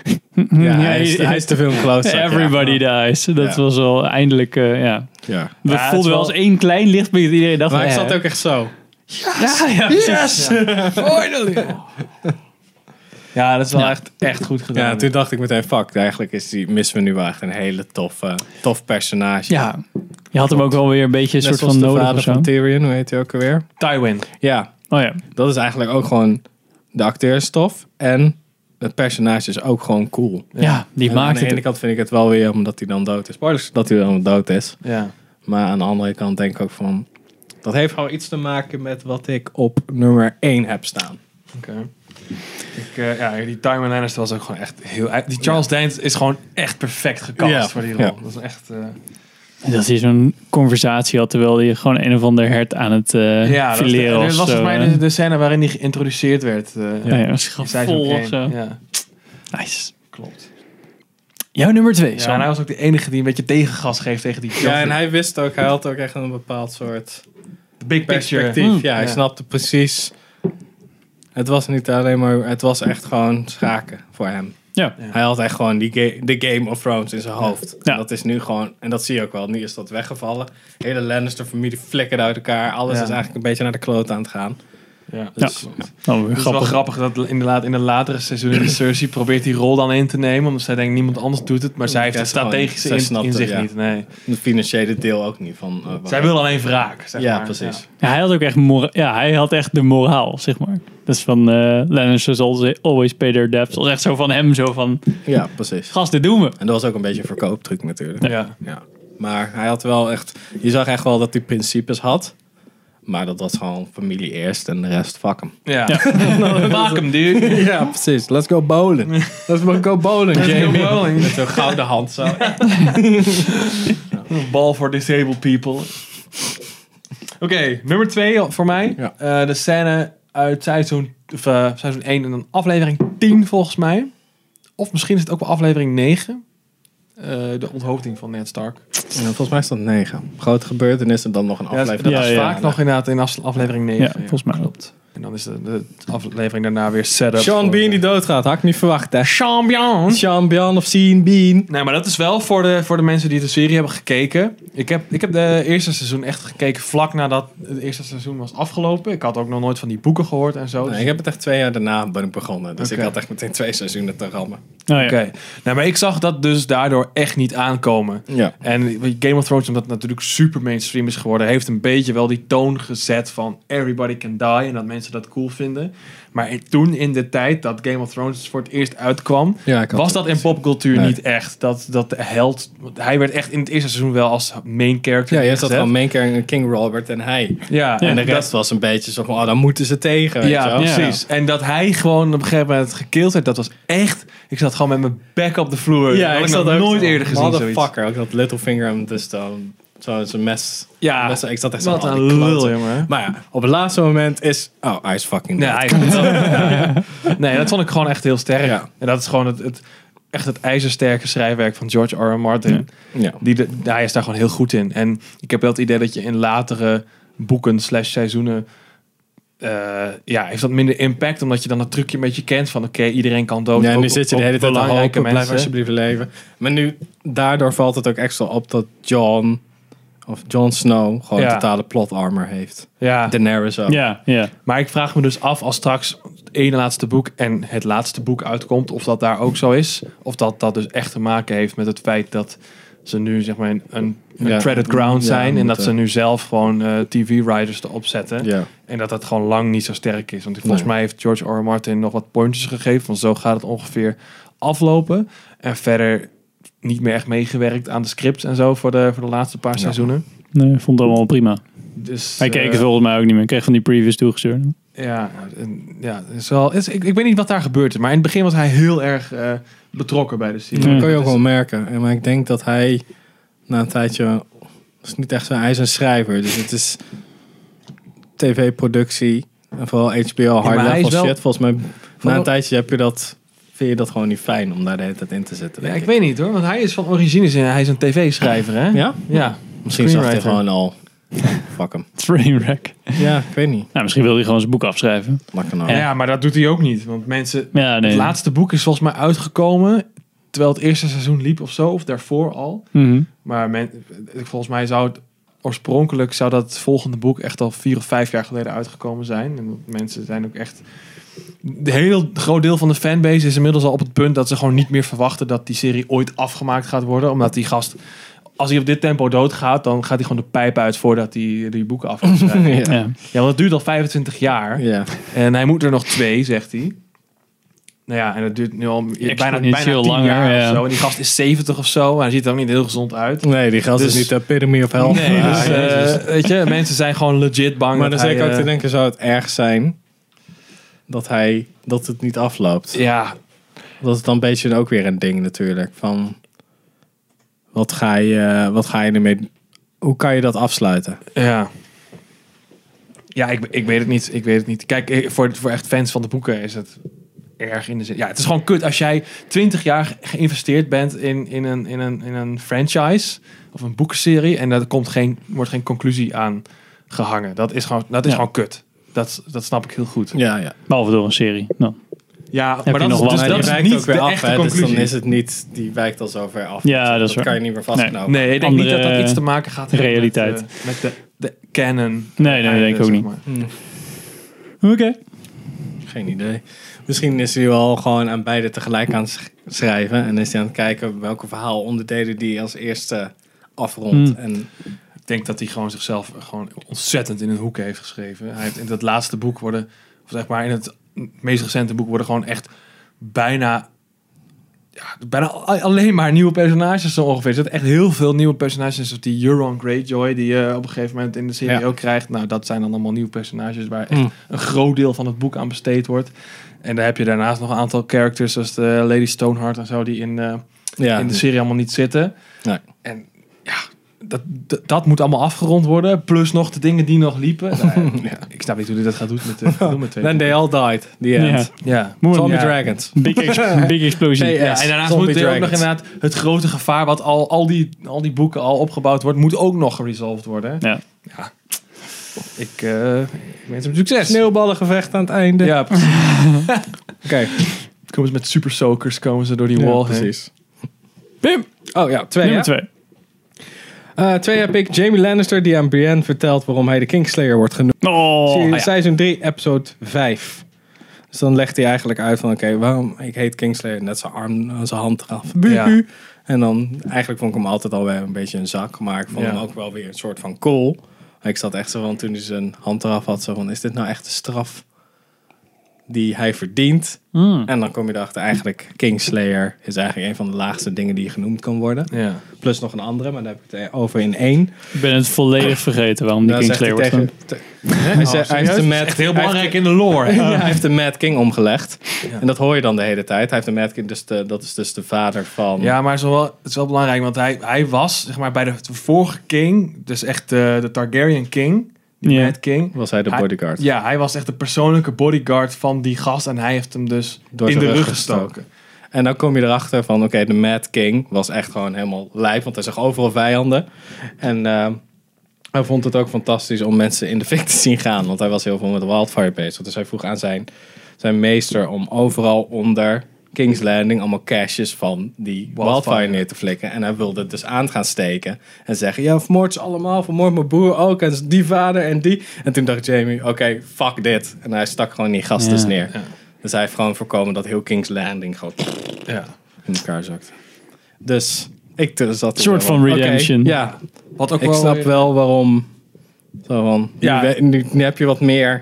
[SPEAKER 3] Ja, hij, is, hij is te veel close.
[SPEAKER 1] Hmm, Everybody dies. Dat
[SPEAKER 3] Ja.
[SPEAKER 1] was wel eindelijk. eh, ja.
[SPEAKER 3] Ja. Ja.
[SPEAKER 1] We
[SPEAKER 2] het is
[SPEAKER 1] voelden wel
[SPEAKER 2] wel-
[SPEAKER 1] als één klein lichtpunt. dat Iedereen dacht.
[SPEAKER 3] Maar
[SPEAKER 1] van,
[SPEAKER 3] ik
[SPEAKER 1] eh,
[SPEAKER 3] zat ook echt zo.
[SPEAKER 1] Ja, ja, precies.
[SPEAKER 2] Ja, dat is wel echt, echt goed gedaan.
[SPEAKER 3] Ja, toen dacht ik meteen, fuck, eigenlijk is die missen we nu wel echt een hele toffe, tof personage.
[SPEAKER 1] Ja. Je had hem ook wel weer een beetje een
[SPEAKER 3] Net
[SPEAKER 1] soort
[SPEAKER 3] zoals
[SPEAKER 1] van
[SPEAKER 3] de
[SPEAKER 1] nodig.
[SPEAKER 3] vader
[SPEAKER 1] Of zo.
[SPEAKER 3] van Tyrion, hoe heet hij ook alweer?
[SPEAKER 2] Tywin.
[SPEAKER 3] Ja,
[SPEAKER 1] Oh ja.
[SPEAKER 3] dat is eigenlijk ook gewoon de acteurstof. En het personage is ook gewoon cool.
[SPEAKER 1] Ja, die
[SPEAKER 3] En aan
[SPEAKER 1] maakte
[SPEAKER 3] de ene
[SPEAKER 1] het.
[SPEAKER 3] kant vind ik het wel weer omdat hij dan dood is. Spoilers dat hij dan dood is.
[SPEAKER 2] Ja.
[SPEAKER 3] Maar aan de andere kant denk ik ook van... Dat heeft gewoon iets te maken met wat ik op nummer 1 heb staan.
[SPEAKER 2] Oké. Ik, eh, ja, die Tywin Lannister was ook gewoon echt heel... Die Charles Dance is gewoon echt perfect gecast
[SPEAKER 3] Ja.
[SPEAKER 2] voor die rol.
[SPEAKER 3] Ja.
[SPEAKER 2] Dat is echt... eh,
[SPEAKER 1] Dat hij zo'n conversatie had terwijl hij gewoon een of ander hert aan het eh
[SPEAKER 2] ja, dat, is de-
[SPEAKER 1] fileren
[SPEAKER 2] dit
[SPEAKER 1] was.
[SPEAKER 2] was
[SPEAKER 1] Zo,
[SPEAKER 2] volgens mij dus
[SPEAKER 1] hè. Oh
[SPEAKER 2] de, de scène waarin die geïntroduceerd werd. eh,
[SPEAKER 1] Ja, ja, was
[SPEAKER 2] in
[SPEAKER 1] gewoon
[SPEAKER 2] seizoen
[SPEAKER 1] vol of
[SPEAKER 2] één.
[SPEAKER 1] zo.
[SPEAKER 2] Ja,
[SPEAKER 1] Nice.
[SPEAKER 2] klopt.
[SPEAKER 1] Jouw nummer twee.
[SPEAKER 2] Ja, nou, en hij was ook de enige die een beetje tegengas geeft tegen die
[SPEAKER 3] Ja, en
[SPEAKER 2] Joffrey.
[SPEAKER 3] hij wist ook, hij had ook echt een bepaald soort
[SPEAKER 2] De big picture.
[SPEAKER 3] perspectief. Ja, hij
[SPEAKER 2] Ja.
[SPEAKER 3] snapte precies Het was niet alleen maar, het was echt gewoon schaken voor hem.
[SPEAKER 1] Ja.
[SPEAKER 2] Ja.
[SPEAKER 3] Hij had echt gewoon die ga- de Game of Thrones in zijn hoofd.
[SPEAKER 1] Ja.
[SPEAKER 3] En Dat is nu gewoon, en dat zie je ook wel, nu is dat weggevallen. De hele Lannister-familie flikkert uit elkaar. Alles
[SPEAKER 2] Ja.
[SPEAKER 3] is eigenlijk een beetje naar de kloot aan het gaan.
[SPEAKER 2] Ja,
[SPEAKER 3] Dus,
[SPEAKER 2] klopt.
[SPEAKER 1] Nou, weer
[SPEAKER 2] Het is wel
[SPEAKER 1] grappig.
[SPEAKER 2] grappig dat inderdaad in de latere seizoenen Cersei probeert die rol dan in te nemen. Omdat zij denkt, niemand anders doet het. Maar zij heeft
[SPEAKER 3] Ja,
[SPEAKER 2] het
[SPEAKER 3] gewoon,
[SPEAKER 2] strategische
[SPEAKER 3] zij
[SPEAKER 2] in,
[SPEAKER 3] snapt
[SPEAKER 2] in
[SPEAKER 3] het,
[SPEAKER 2] zich
[SPEAKER 3] ja.
[SPEAKER 2] niet. Nee.
[SPEAKER 3] Het financiële deel ook niet van... eh,
[SPEAKER 2] Zij
[SPEAKER 3] waarom-
[SPEAKER 2] wil alleen wraak, zeg
[SPEAKER 3] Ja,
[SPEAKER 2] maar.
[SPEAKER 3] precies.
[SPEAKER 1] Ja, hij had ook echt, mora- ja, hij had echt de moraal, zeg maar. Dat is van eh Lannisters always, always pay their debts. Dat is echt zo van hem, zo van,
[SPEAKER 3] Ja, precies.
[SPEAKER 1] gast, dit doen we. Oh
[SPEAKER 3] En dat was ook een beetje een verkooptruc natuurlijk.
[SPEAKER 2] Ja. Ja.
[SPEAKER 3] Ja. Maar hij had wel echt... Je zag echt wel dat hij principes had. Maar dat was gewoon familie eerst en de rest fuck hem.
[SPEAKER 2] Ja. Maak hem, dude.
[SPEAKER 3] Ja, precies. Let's go bowlen. Let's go bowlen, Jamie. Met zo'n gouden hand zo.
[SPEAKER 2] Een bal voor disabled people. Oké, nummer twee voor mij.
[SPEAKER 3] Ja.
[SPEAKER 2] Eh, de scène uit seizoen, of, eh, seizoen 1 en dan aflevering 10 volgens mij. Of misschien is het ook wel aflevering 9. Eh, de onthoofding van Ned Stark.
[SPEAKER 3] En Nou, volgens mij is dat 9. Grote gebeurtenissen, dan nog een
[SPEAKER 2] Ja,
[SPEAKER 3] aflevering.
[SPEAKER 2] dat
[SPEAKER 1] Ja,
[SPEAKER 2] is
[SPEAKER 1] ja.
[SPEAKER 2] vaak nog inderdaad in afs- aflevering 9.
[SPEAKER 1] Ja, volgens mij klopt.
[SPEAKER 2] En dan is de, de aflevering daarna weer set up.
[SPEAKER 3] Sean
[SPEAKER 2] voor-
[SPEAKER 3] Bean die doodgaat, had ik niet verwacht. Hè.
[SPEAKER 2] Sean Bean.
[SPEAKER 3] Sean Bean of Sean Bean.
[SPEAKER 2] Nee, maar dat is wel voor de, voor de mensen die de serie hebben gekeken. Ik heb, ik heb de eerste seizoen echt gekeken vlak nadat het eerste seizoen was afgelopen. Ik had ook nog nooit van die boeken gehoord en zo. Dus-
[SPEAKER 3] Nee, ik heb het echt twee jaar daarna ben ik begonnen. Dus
[SPEAKER 2] Oké.
[SPEAKER 3] ik had echt meteen twee seizoenen te rammen.
[SPEAKER 1] Nou, ja.
[SPEAKER 2] Oké. Nou, maar ik zag dat dus daardoor echt niet aankomen.
[SPEAKER 3] Ja.
[SPEAKER 2] En Game of Thrones, omdat het natuurlijk super mainstream is geworden, heeft een beetje wel die toon gezet van everybody can die en dat mensen dat cool vinden. Maar in- toen in de tijd dat Game of Thrones voor het eerst uitkwam,
[SPEAKER 3] ja ik had
[SPEAKER 2] was dat in popcultuur
[SPEAKER 3] Nee.
[SPEAKER 2] niet echt. Dat, dat de held, want hij werd echt in het eerste seizoen wel als main character
[SPEAKER 3] Ja, je
[SPEAKER 2] neergezet.
[SPEAKER 3] zat gewoon main character King Robert en hij.
[SPEAKER 2] Ja,
[SPEAKER 3] en de
[SPEAKER 2] dat-
[SPEAKER 3] rest was een beetje zo van, oh, dan moeten ze tegen. weet je
[SPEAKER 2] ja,
[SPEAKER 3] wel.
[SPEAKER 2] precies. En dat hij gewoon op een gegeven moment gekild werd, dat was echt... Ik zat gewoon met mijn back op de vloer.
[SPEAKER 3] Ja,
[SPEAKER 2] dat
[SPEAKER 3] ik
[SPEAKER 2] had
[SPEAKER 3] zat
[SPEAKER 2] nog
[SPEAKER 3] ook
[SPEAKER 2] nooit
[SPEAKER 3] zo,
[SPEAKER 2] eerder gezien zoiets.
[SPEAKER 3] Motherfucker, ook dat Littlefinger hem dus dan zo zijn mes.
[SPEAKER 2] Ja,
[SPEAKER 3] mes- ik zat echt zo
[SPEAKER 2] wat
[SPEAKER 3] van, oh,
[SPEAKER 2] een
[SPEAKER 3] die klote.
[SPEAKER 2] lul, jongen.
[SPEAKER 3] Maar ja, op het laatste moment is, oh, hij is fucking
[SPEAKER 2] Nee,
[SPEAKER 3] dead.
[SPEAKER 2] hij- nee, dat vond ik gewoon echt heel sterk.
[SPEAKER 3] Ja.
[SPEAKER 2] En dat is gewoon het, het, echt het ijzersterke schrijfwerk van George R. R. Martin.
[SPEAKER 3] Ja.
[SPEAKER 2] Die de, hij is daar gewoon heel goed in. En ik heb wel het idee dat je in latere boeken slash seizoenen... eh, ja, heeft dat minder impact, omdat je dan dat trucje een beetje kent van... Oké, iedereen kan dood.
[SPEAKER 3] Ja,
[SPEAKER 2] ook
[SPEAKER 3] nu
[SPEAKER 2] op-
[SPEAKER 3] zit je
[SPEAKER 2] op
[SPEAKER 3] de hele tijd te
[SPEAKER 2] belangrijke
[SPEAKER 3] hopen, blijf
[SPEAKER 2] mensen.
[SPEAKER 3] alsjeblieft leven. Maar nu, daardoor valt het ook extra op dat John, of Jon Snow, gewoon
[SPEAKER 2] Ja.
[SPEAKER 3] totale plot armor heeft.
[SPEAKER 2] Ja,
[SPEAKER 3] Daenerys ook.
[SPEAKER 1] ja, ja.
[SPEAKER 2] maar ik vraag me dus af als straks het ene laatste boek en het laatste boek uitkomt, of dat daar ook zo is. Of dat dat dus echt te maken heeft met het feit dat ze nu zeg maar een, een, een
[SPEAKER 3] Ja.
[SPEAKER 2] treaded ground
[SPEAKER 3] Ja,
[SPEAKER 2] zijn en dat
[SPEAKER 3] moeten.
[SPEAKER 2] ze nu zelf gewoon TV-riders erop zetten.
[SPEAKER 3] Ja.
[SPEAKER 2] En dat dat gewoon lang niet zo sterk is. Want volgens
[SPEAKER 3] Nee.
[SPEAKER 2] mij heeft George R. R. Martin nog wat pointjes gegeven. Van zo gaat het ongeveer aflopen. En verder niet meer echt meegewerkt aan de scripts en zo voor de, voor de laatste paar
[SPEAKER 3] Ja.
[SPEAKER 2] seizoenen.
[SPEAKER 1] Nee, vond het allemaal prima.
[SPEAKER 2] Dus,
[SPEAKER 1] Hij keek
[SPEAKER 2] eh,
[SPEAKER 1] het volgens mij ook niet meer. Ik kreeg van die previews toegestuurd.
[SPEAKER 2] Ja, en, ja het is wel, het is- ik, ik weet niet wat daar gebeurd is. Maar in het begin was hij heel erg eh, betrokken bij de serie. Dus-
[SPEAKER 1] Ja.
[SPEAKER 3] Dat kan je ook wel merken. En, maar ik denk dat hij na een tijdje... dat is niet echt zo, hij is een schrijver. Dus het is tv-productie. En vooral HBO hard
[SPEAKER 2] maar hij
[SPEAKER 3] level
[SPEAKER 2] is wel-
[SPEAKER 3] shit. Volgens mij na
[SPEAKER 2] wel-
[SPEAKER 3] een tijdje heb je dat, vind je dat gewoon niet fijn om daar de hele tijd in te zitten.
[SPEAKER 2] Ja,
[SPEAKER 3] denk
[SPEAKER 2] ik weet niet hoor. Want hij is van origine hij is een tv-schrijver hè?
[SPEAKER 3] Ja?
[SPEAKER 2] Ja.
[SPEAKER 3] Misschien zag hij
[SPEAKER 2] Screenwriter.
[SPEAKER 3] gewoon al... Fuck hem.
[SPEAKER 1] Trainwreck.
[SPEAKER 3] Ja, ik weet niet.
[SPEAKER 1] Nou, misschien wilde hij gewoon zijn boek afschrijven.
[SPEAKER 3] Makkelijk.
[SPEAKER 2] Ja. maar dat doet hij ook niet. Want mensen...
[SPEAKER 1] Ja, nee.
[SPEAKER 2] Het laatste boek is volgens mij uitgekomen... terwijl het eerste seizoen liep of zo. Of daarvoor al.
[SPEAKER 1] Mhm.
[SPEAKER 2] Maar men, volgens mij zou het oorspronkelijk zou dat volgende boek echt al vier of vijf jaar geleden uitgekomen zijn. En mensen zijn ook echt. Een heel groot deel van de fanbase is inmiddels al op het punt dat ze gewoon niet meer verwachten dat die serie ooit afgemaakt gaat worden. Omdat die gast, als hij op dit tempo doodgaat, dan gaat hij gewoon de pijp uit voordat hij die boeken af kan schrijven.
[SPEAKER 3] Ja.
[SPEAKER 1] Ja.
[SPEAKER 2] Ja, want dat duurt al 25 jaar.
[SPEAKER 3] Ja.
[SPEAKER 2] En hij moet er nog twee, zegt hij. Nou ja, en dat duurt nu al bijna, bijna
[SPEAKER 1] Exponentieel
[SPEAKER 2] 10
[SPEAKER 1] langer,
[SPEAKER 2] jaar
[SPEAKER 1] ja.
[SPEAKER 2] of zo. En die gast is 70 of zo. Maar hij ziet er ook niet heel gezond uit.
[SPEAKER 3] Nee, die gast
[SPEAKER 2] Dus-
[SPEAKER 3] is niet de epitome of hell. Ah,
[SPEAKER 2] Nee,
[SPEAKER 3] Ja,
[SPEAKER 2] dus, eh,
[SPEAKER 3] Jezus.
[SPEAKER 2] weet je, mensen zijn gewoon legit bang.
[SPEAKER 3] maar dan
[SPEAKER 2] dat
[SPEAKER 3] zit ik
[SPEAKER 2] hij,
[SPEAKER 3] ook te
[SPEAKER 2] eh,
[SPEAKER 3] denken, zou het erg zijn dat hij dat het niet afloopt?
[SPEAKER 2] Ja,
[SPEAKER 3] Dat is dan een beetje ook weer een ding natuurlijk. Van wat ga je, eh, wat ga je ermee? Hoe kan je dat afsluiten?
[SPEAKER 2] ja. Ja, ik, ik weet het niet. Ik weet het niet. Kijk, eh, voor, voor echt fans van de boeken is het erg in de zin. Ja, het is gewoon kut als jij 20 jaar ge- geïnvesteerd bent in, in, een, in, een, in een franchise of een boekenserie en daar komt geen, wordt geen conclusie aan gehangen. Dat is gewoon, dat is
[SPEAKER 1] Ja.
[SPEAKER 2] gewoon kut. Dat, dat snap ik heel goed.
[SPEAKER 3] Ja, ja.
[SPEAKER 1] Behalve door een serie. Nou.
[SPEAKER 2] Ja,
[SPEAKER 1] je
[SPEAKER 2] maar dat
[SPEAKER 1] nog
[SPEAKER 2] is,
[SPEAKER 1] wel
[SPEAKER 2] dus
[SPEAKER 1] een
[SPEAKER 3] Maar
[SPEAKER 1] idee.
[SPEAKER 2] dat is
[SPEAKER 3] die wijkt
[SPEAKER 2] niet
[SPEAKER 3] ook weer
[SPEAKER 2] de
[SPEAKER 3] af,
[SPEAKER 2] echte
[SPEAKER 3] hè, dus
[SPEAKER 2] conclusie.
[SPEAKER 3] dan is het niet, die wijkt al zo ver af.
[SPEAKER 1] Ja, dat is waar.
[SPEAKER 3] kan je niet meer vastknopen.
[SPEAKER 2] nee, Oh, ik denk niet dat dat
[SPEAKER 1] andere
[SPEAKER 2] iets te maken gaat hebben
[SPEAKER 1] realiteit.
[SPEAKER 2] met, eh, met de, de canon.
[SPEAKER 1] Nee, nee, dat denk ik ook
[SPEAKER 2] Zeg
[SPEAKER 1] niet.
[SPEAKER 2] maar.
[SPEAKER 3] Hm.
[SPEAKER 1] Oké.
[SPEAKER 3] Geen idee. Misschien is hij wel gewoon aan beide tegelijk aan het sch- schrijven. En is hij aan het kijken welke verhaalonderdelen die als eerste afrondt.
[SPEAKER 1] Hmm.
[SPEAKER 3] En
[SPEAKER 2] Ik denk dat hij gewoon zichzelf gewoon ontzettend in een hoek heeft geschreven. Hij heeft in dat laatste boek worden, of zeg maar in het meest recente boek worden gewoon echt bijna, ja, bijna al- alleen maar nieuwe personages zo ongeveer. Er zitten echt heel veel nieuwe personages, zoals die Euron Greyjoy die je op een gegeven moment in de serie
[SPEAKER 3] Ja.
[SPEAKER 2] ook krijgt. Nou, dat zijn dan allemaal nieuwe personages waar echt
[SPEAKER 3] Mm.
[SPEAKER 2] een groot deel van het boek aan besteed wordt. En dan heb je daarnaast nog een aantal characters zoals de Lady Stoneheart en zo die in eh,
[SPEAKER 3] ja,
[SPEAKER 2] in de serie allemaal niet zitten.
[SPEAKER 3] Nee.
[SPEAKER 2] En ja, dat, dat, dat moet allemaal afgerond worden. Plus nog de dingen die nog liepen. Nou, ja, Ik snap niet hoe dit dat gaat doen met de met twee.
[SPEAKER 3] Then they all died. The
[SPEAKER 1] Ja.
[SPEAKER 3] end.
[SPEAKER 2] ja.
[SPEAKER 1] Mooi.
[SPEAKER 3] Tommy
[SPEAKER 2] Ja.
[SPEAKER 3] Dragons.
[SPEAKER 1] Big, ex- big explosie.
[SPEAKER 3] Hey,
[SPEAKER 2] Ja, eh, en daarnaast
[SPEAKER 3] Zombie
[SPEAKER 2] moet er ook nog
[SPEAKER 3] Dragons.
[SPEAKER 2] inderdaad het grote gevaar wat al, al, die, al die boeken al opgebouwd wordt, moet ook nog geresolved worden.
[SPEAKER 1] Ja.
[SPEAKER 2] ja. Ik, eh ik wens hem succes.
[SPEAKER 3] Sneeuwballengevecht aan het einde.
[SPEAKER 2] Ja, precies.
[SPEAKER 3] Oké.
[SPEAKER 2] komen ze met super soakers komen ze door die
[SPEAKER 3] Ja,
[SPEAKER 2] wall heen.
[SPEAKER 3] precies. Bim! Oh ja, twee.
[SPEAKER 1] Nummer
[SPEAKER 3] hè?
[SPEAKER 1] twee.
[SPEAKER 3] Eh, twee heb ik Jamie Lannister die aan Brienne vertelt waarom hij de Kingslayer wordt genoemd.
[SPEAKER 1] Oh,
[SPEAKER 3] Serie-
[SPEAKER 1] ja.
[SPEAKER 3] Seizoen 3, episode 5. Dus dan legt hij eigenlijk uit van oké, waarom ik heet Kingslayer. Net zijn arm, eh, zijn hand eraf. Bu,
[SPEAKER 2] Ja.
[SPEAKER 3] bu. En dan, eigenlijk vond ik hem altijd al wel een beetje een zak. Maar ik vond
[SPEAKER 2] Ja.
[SPEAKER 3] hem ook wel weer een soort van cool. Ik zat echt zo van toen hij zijn hand eraf had. Zo van, is dit nou echt de straf die hij verdient?
[SPEAKER 1] Hmm.
[SPEAKER 3] En dan kom je erachter, eigenlijk Kingslayer is eigenlijk een van de laagste dingen die genoemd kan worden.
[SPEAKER 2] Ja.
[SPEAKER 3] Plus nog een andere, maar daar heb ik het over in één.
[SPEAKER 1] Ik ben het volledig vergeten waarom die
[SPEAKER 3] Daar
[SPEAKER 1] King's
[SPEAKER 3] Nou, zegt
[SPEAKER 1] Slayer
[SPEAKER 3] hij
[SPEAKER 1] wordt
[SPEAKER 3] tegen...
[SPEAKER 1] genoemd.
[SPEAKER 3] te- eh, hij, zegt- hij heeft de
[SPEAKER 2] Oh, Nou, Serieus?
[SPEAKER 3] Mad,
[SPEAKER 2] Echt heel
[SPEAKER 3] hij heeft-
[SPEAKER 2] belangrijk in de lore.
[SPEAKER 3] ja, hij heeft de Mad King omgelegd.
[SPEAKER 2] Ja.
[SPEAKER 3] En dat hoor je dan de hele tijd. Hij heeft de Mad King, dus de, dat is dus de vader van...
[SPEAKER 2] Ja, maar het is wel, het is wel belangrijk, want hij, hij was zeg maar, bij de vorige king, dus echt de, de Targaryen king, de
[SPEAKER 1] Ja.
[SPEAKER 2] Mad King.
[SPEAKER 3] Was hij de
[SPEAKER 2] Hij-
[SPEAKER 3] bodyguard.
[SPEAKER 2] Ja, hij was echt de persoonlijke bodyguard van die gast en hij heeft hem dus
[SPEAKER 3] Door
[SPEAKER 2] in de
[SPEAKER 3] zijn
[SPEAKER 2] rug
[SPEAKER 3] rug
[SPEAKER 2] gestoken.
[SPEAKER 3] En dan kom je erachter van, oké, de Mad King was echt gewoon helemaal lijp, want hij zag overal vijanden. En eh, hij vond het ook fantastisch om mensen in de fik te zien gaan, want hij was heel veel met Wildfire bezig. Dus hij vroeg aan zijn, zijn meester om overal onder King's Landing allemaal caches van die
[SPEAKER 2] Wildfire.
[SPEAKER 3] wildfire. neer te flikken. En hij wilde het dus aan gaan steken en zeggen, ja, vermoord ze allemaal, vermoord mijn broer ook, en die vader en die. En toen dacht Jamie, oké, fuck dit. En hij stak gewoon die gast dus
[SPEAKER 1] Ja.
[SPEAKER 3] neer.
[SPEAKER 2] Ja.
[SPEAKER 3] Dus hij heeft gewoon voorkomen dat heel King's Landing gewoon
[SPEAKER 2] Ja.
[SPEAKER 3] in elkaar zakt. Dus ik t- zat
[SPEAKER 1] Soort
[SPEAKER 3] er wel
[SPEAKER 1] van
[SPEAKER 3] oké,
[SPEAKER 1] redemption.
[SPEAKER 3] ja,
[SPEAKER 2] Wat ook
[SPEAKER 3] ik
[SPEAKER 2] wel,
[SPEAKER 3] snap wel waarom. Zo van,
[SPEAKER 2] Ja.
[SPEAKER 3] nu, we- nu, nu heb je wat meer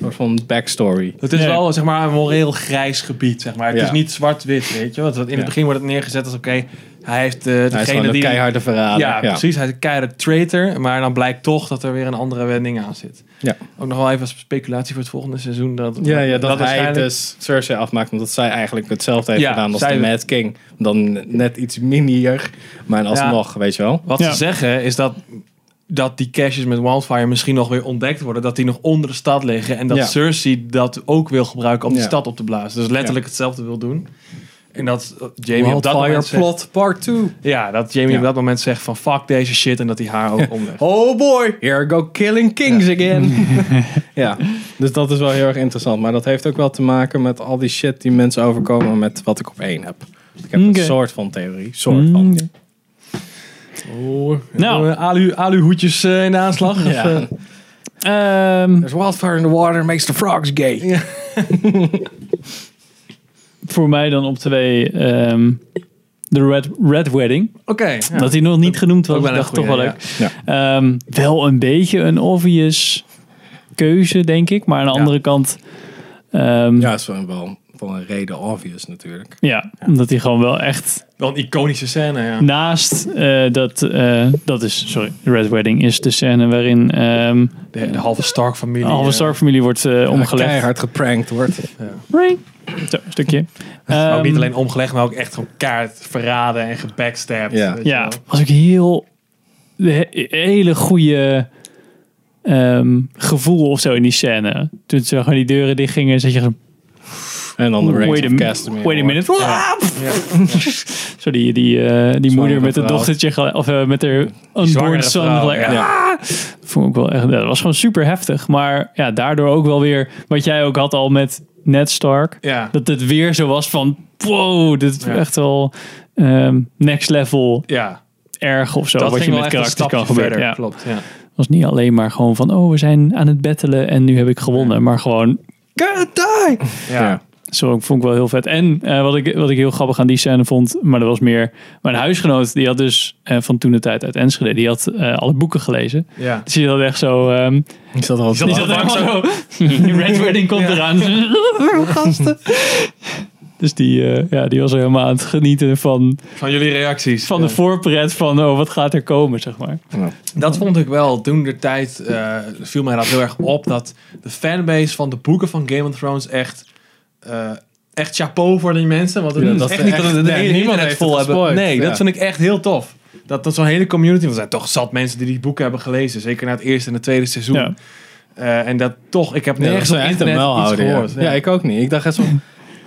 [SPEAKER 3] soort van backstory.
[SPEAKER 2] Het is
[SPEAKER 1] Nee.
[SPEAKER 2] wel zeg maar, een moreel grijs gebied. Zeg maar. Het
[SPEAKER 3] Ja.
[SPEAKER 2] is niet zwart-wit, weet je. Want in het
[SPEAKER 3] Ja.
[SPEAKER 2] begin wordt het neergezet als oké, hij heeft eh,
[SPEAKER 3] Hij is
[SPEAKER 2] degene
[SPEAKER 3] gewoon een
[SPEAKER 2] die...
[SPEAKER 3] keiharde verrader.
[SPEAKER 2] ja, precies. Hij is een keiharde traitor, maar dan blijkt toch dat er weer een andere wending aan zit.
[SPEAKER 3] Ja.
[SPEAKER 2] Ook nog wel even als speculatie voor het volgende seizoen. Dat,
[SPEAKER 3] Ja, ja, dat, hij
[SPEAKER 2] waarschijnlijk-
[SPEAKER 3] dus Cersei afmaakt omdat zij eigenlijk hetzelfde heeft
[SPEAKER 2] Ja,
[SPEAKER 3] gedaan als
[SPEAKER 2] zij-
[SPEAKER 3] de Mad King. Dan net iets minier, maar alsnog, weet je wel.
[SPEAKER 2] Wat
[SPEAKER 1] Ja.
[SPEAKER 2] ze zeggen is dat, dat die caches met Wildfire misschien nog weer ontdekt worden. Dat die nog onder de stad liggen. En dat
[SPEAKER 3] Ja.
[SPEAKER 2] Cersei dat ook wil gebruiken om die
[SPEAKER 3] Ja.
[SPEAKER 2] stad op te blazen. Dus letterlijk hetzelfde wil doen. En dat eh, Jamie op dat
[SPEAKER 3] Wildfire
[SPEAKER 2] moment zegt-
[SPEAKER 3] plot part 2.
[SPEAKER 2] ja, dat Jamie
[SPEAKER 3] Ja.
[SPEAKER 2] op dat moment zegt van fuck deze shit. En dat hij haar ook omlegt.
[SPEAKER 3] Oh boy, here go killing kings again. ja, dus dat is wel heel erg interessant. Maar dat heeft ook wel te maken met al die shit die mensen overkomen met wat ik op één heb. Ik heb
[SPEAKER 1] Oké. Mm,
[SPEAKER 3] een soort van theorie. Soort van.
[SPEAKER 1] Oké.
[SPEAKER 2] Oh,
[SPEAKER 1] Hmm. Nou.
[SPEAKER 2] nou, alu, aluhoedjes eh, in de aanslag. of, eh?
[SPEAKER 3] Ja.
[SPEAKER 1] Ehm,
[SPEAKER 3] There's wildfire in the water makes the frogs gay.
[SPEAKER 1] voor mij dan op twee ehm, de Red, Red Wedding.
[SPEAKER 2] Oké. ja.
[SPEAKER 1] Dat hij nog niet genoemd was,
[SPEAKER 2] Ook
[SPEAKER 1] ik
[SPEAKER 2] wel een
[SPEAKER 1] dacht toch wel
[SPEAKER 2] goeie,
[SPEAKER 1] leuk. Ehm, wel een beetje een obvious keuze, denk ik. Maar aan de
[SPEAKER 2] Ja.
[SPEAKER 1] andere kant... ehm, ja.
[SPEAKER 3] Ja, is wel- wel van een reden obvious natuurlijk.
[SPEAKER 1] omdat hij gewoon wel echt
[SPEAKER 2] Wel een iconische scène, ja.
[SPEAKER 1] naast eh, dat... eh, dat is, sorry, de Red Wedding is de scène waarin ehm
[SPEAKER 2] De, de halve Stark-familie.
[SPEAKER 1] de halve
[SPEAKER 2] eh,
[SPEAKER 1] Stark-familie wordt eh,
[SPEAKER 3] Ja,
[SPEAKER 1] omgelegd.
[SPEAKER 3] keihard geprankt wordt.
[SPEAKER 2] ja.
[SPEAKER 1] Ring. Zo, een stukje.
[SPEAKER 2] Maar ook niet
[SPEAKER 1] Ehm,
[SPEAKER 2] alleen omgelegd, maar ook echt gewoon kaart verraden en gebackstabbed.
[SPEAKER 3] Ja.
[SPEAKER 2] weet je
[SPEAKER 1] Ja,
[SPEAKER 2] wel.
[SPEAKER 1] was ik heel. de he- hele goede ehm, gevoel of zo in die scène. Toen ze gewoon die deuren dichtgingen, zat je gewoon.
[SPEAKER 3] En dan de Reigns
[SPEAKER 1] wait,
[SPEAKER 3] of
[SPEAKER 1] a,
[SPEAKER 3] Castamere.
[SPEAKER 1] wait a minute. Ah! Zo die, die, eh, die moeder met het
[SPEAKER 3] vrouw.
[SPEAKER 1] dochtertje, gelijk- of eh, met haar
[SPEAKER 2] zwangere
[SPEAKER 1] unborn son.
[SPEAKER 2] vrouw,
[SPEAKER 1] gelijk,
[SPEAKER 2] ja.
[SPEAKER 1] ah! Vond ik wel echt, dat was gewoon super heftig. Maar ja, daardoor ook wel weer, wat jij ook had al met Ned Stark.
[SPEAKER 2] Ja.
[SPEAKER 1] Dat het weer zo was van, wow, dit is
[SPEAKER 2] Ja.
[SPEAKER 1] echt wel ehm, next level
[SPEAKER 2] Ja,
[SPEAKER 1] erg of zo.
[SPEAKER 2] dat
[SPEAKER 1] wat je
[SPEAKER 2] ging wel
[SPEAKER 1] met
[SPEAKER 2] echt een
[SPEAKER 1] karakters
[SPEAKER 2] stapje
[SPEAKER 1] kan gebeuren.
[SPEAKER 2] verder.
[SPEAKER 1] Ja.
[SPEAKER 2] Klopt, ja.
[SPEAKER 1] was niet alleen maar gewoon van, oh, we zijn aan het bettelen en nu heb ik gewonnen. Maar gewoon, "Good die!
[SPEAKER 2] Ja.
[SPEAKER 1] Zo vond ik wel heel vet. En eh, wat, ik, wat ik heel grappig aan die scène vond, maar dat was meer mijn huisgenoot, die had dus eh, van toen de tijd uit Enschede, die had eh, alle boeken gelezen.
[SPEAKER 2] ja.
[SPEAKER 1] Dus die had echt zo. ehm,
[SPEAKER 3] Is dat al
[SPEAKER 1] die zat
[SPEAKER 2] lang
[SPEAKER 1] helemaal zo. Red Wedding komt eraan. Gasten. Dus die, eh, ja, die was er helemaal aan het genieten van,
[SPEAKER 2] Van jullie reacties.
[SPEAKER 3] eh.
[SPEAKER 1] van de voorpret van oh, wat gaat er komen, zeg maar.
[SPEAKER 2] Dat vond ik wel. Toen de tijd eh, viel mij dat heel erg op. Dat de fanbase van de boeken van Game of Thrones echt. eh, echt chapeau voor die mensen. Want het
[SPEAKER 3] Ja,
[SPEAKER 2] is
[SPEAKER 3] dat
[SPEAKER 2] echt
[SPEAKER 3] ze
[SPEAKER 2] niet dat
[SPEAKER 3] echt-
[SPEAKER 2] het
[SPEAKER 3] nee,
[SPEAKER 2] hele
[SPEAKER 3] niemand
[SPEAKER 2] internet
[SPEAKER 3] heeft
[SPEAKER 2] vol
[SPEAKER 3] het
[SPEAKER 2] hebben.
[SPEAKER 3] gespoild.
[SPEAKER 2] Nee,
[SPEAKER 3] Ja.
[SPEAKER 2] dat vind ik echt heel tof. Dat, dat zo'n hele community. Want er zijn toch zat mensen die die boeken hebben gelezen. Zeker na het eerste en het tweede seizoen.
[SPEAKER 1] Ja.
[SPEAKER 2] Eh, en dat toch, ik heb
[SPEAKER 3] Nee, dat
[SPEAKER 2] nergens
[SPEAKER 3] is
[SPEAKER 2] op
[SPEAKER 3] echt een
[SPEAKER 2] internet iets
[SPEAKER 3] melhouder. Ja.
[SPEAKER 2] gehoord.
[SPEAKER 3] ja, ik ook niet. Ik dacht echt zo...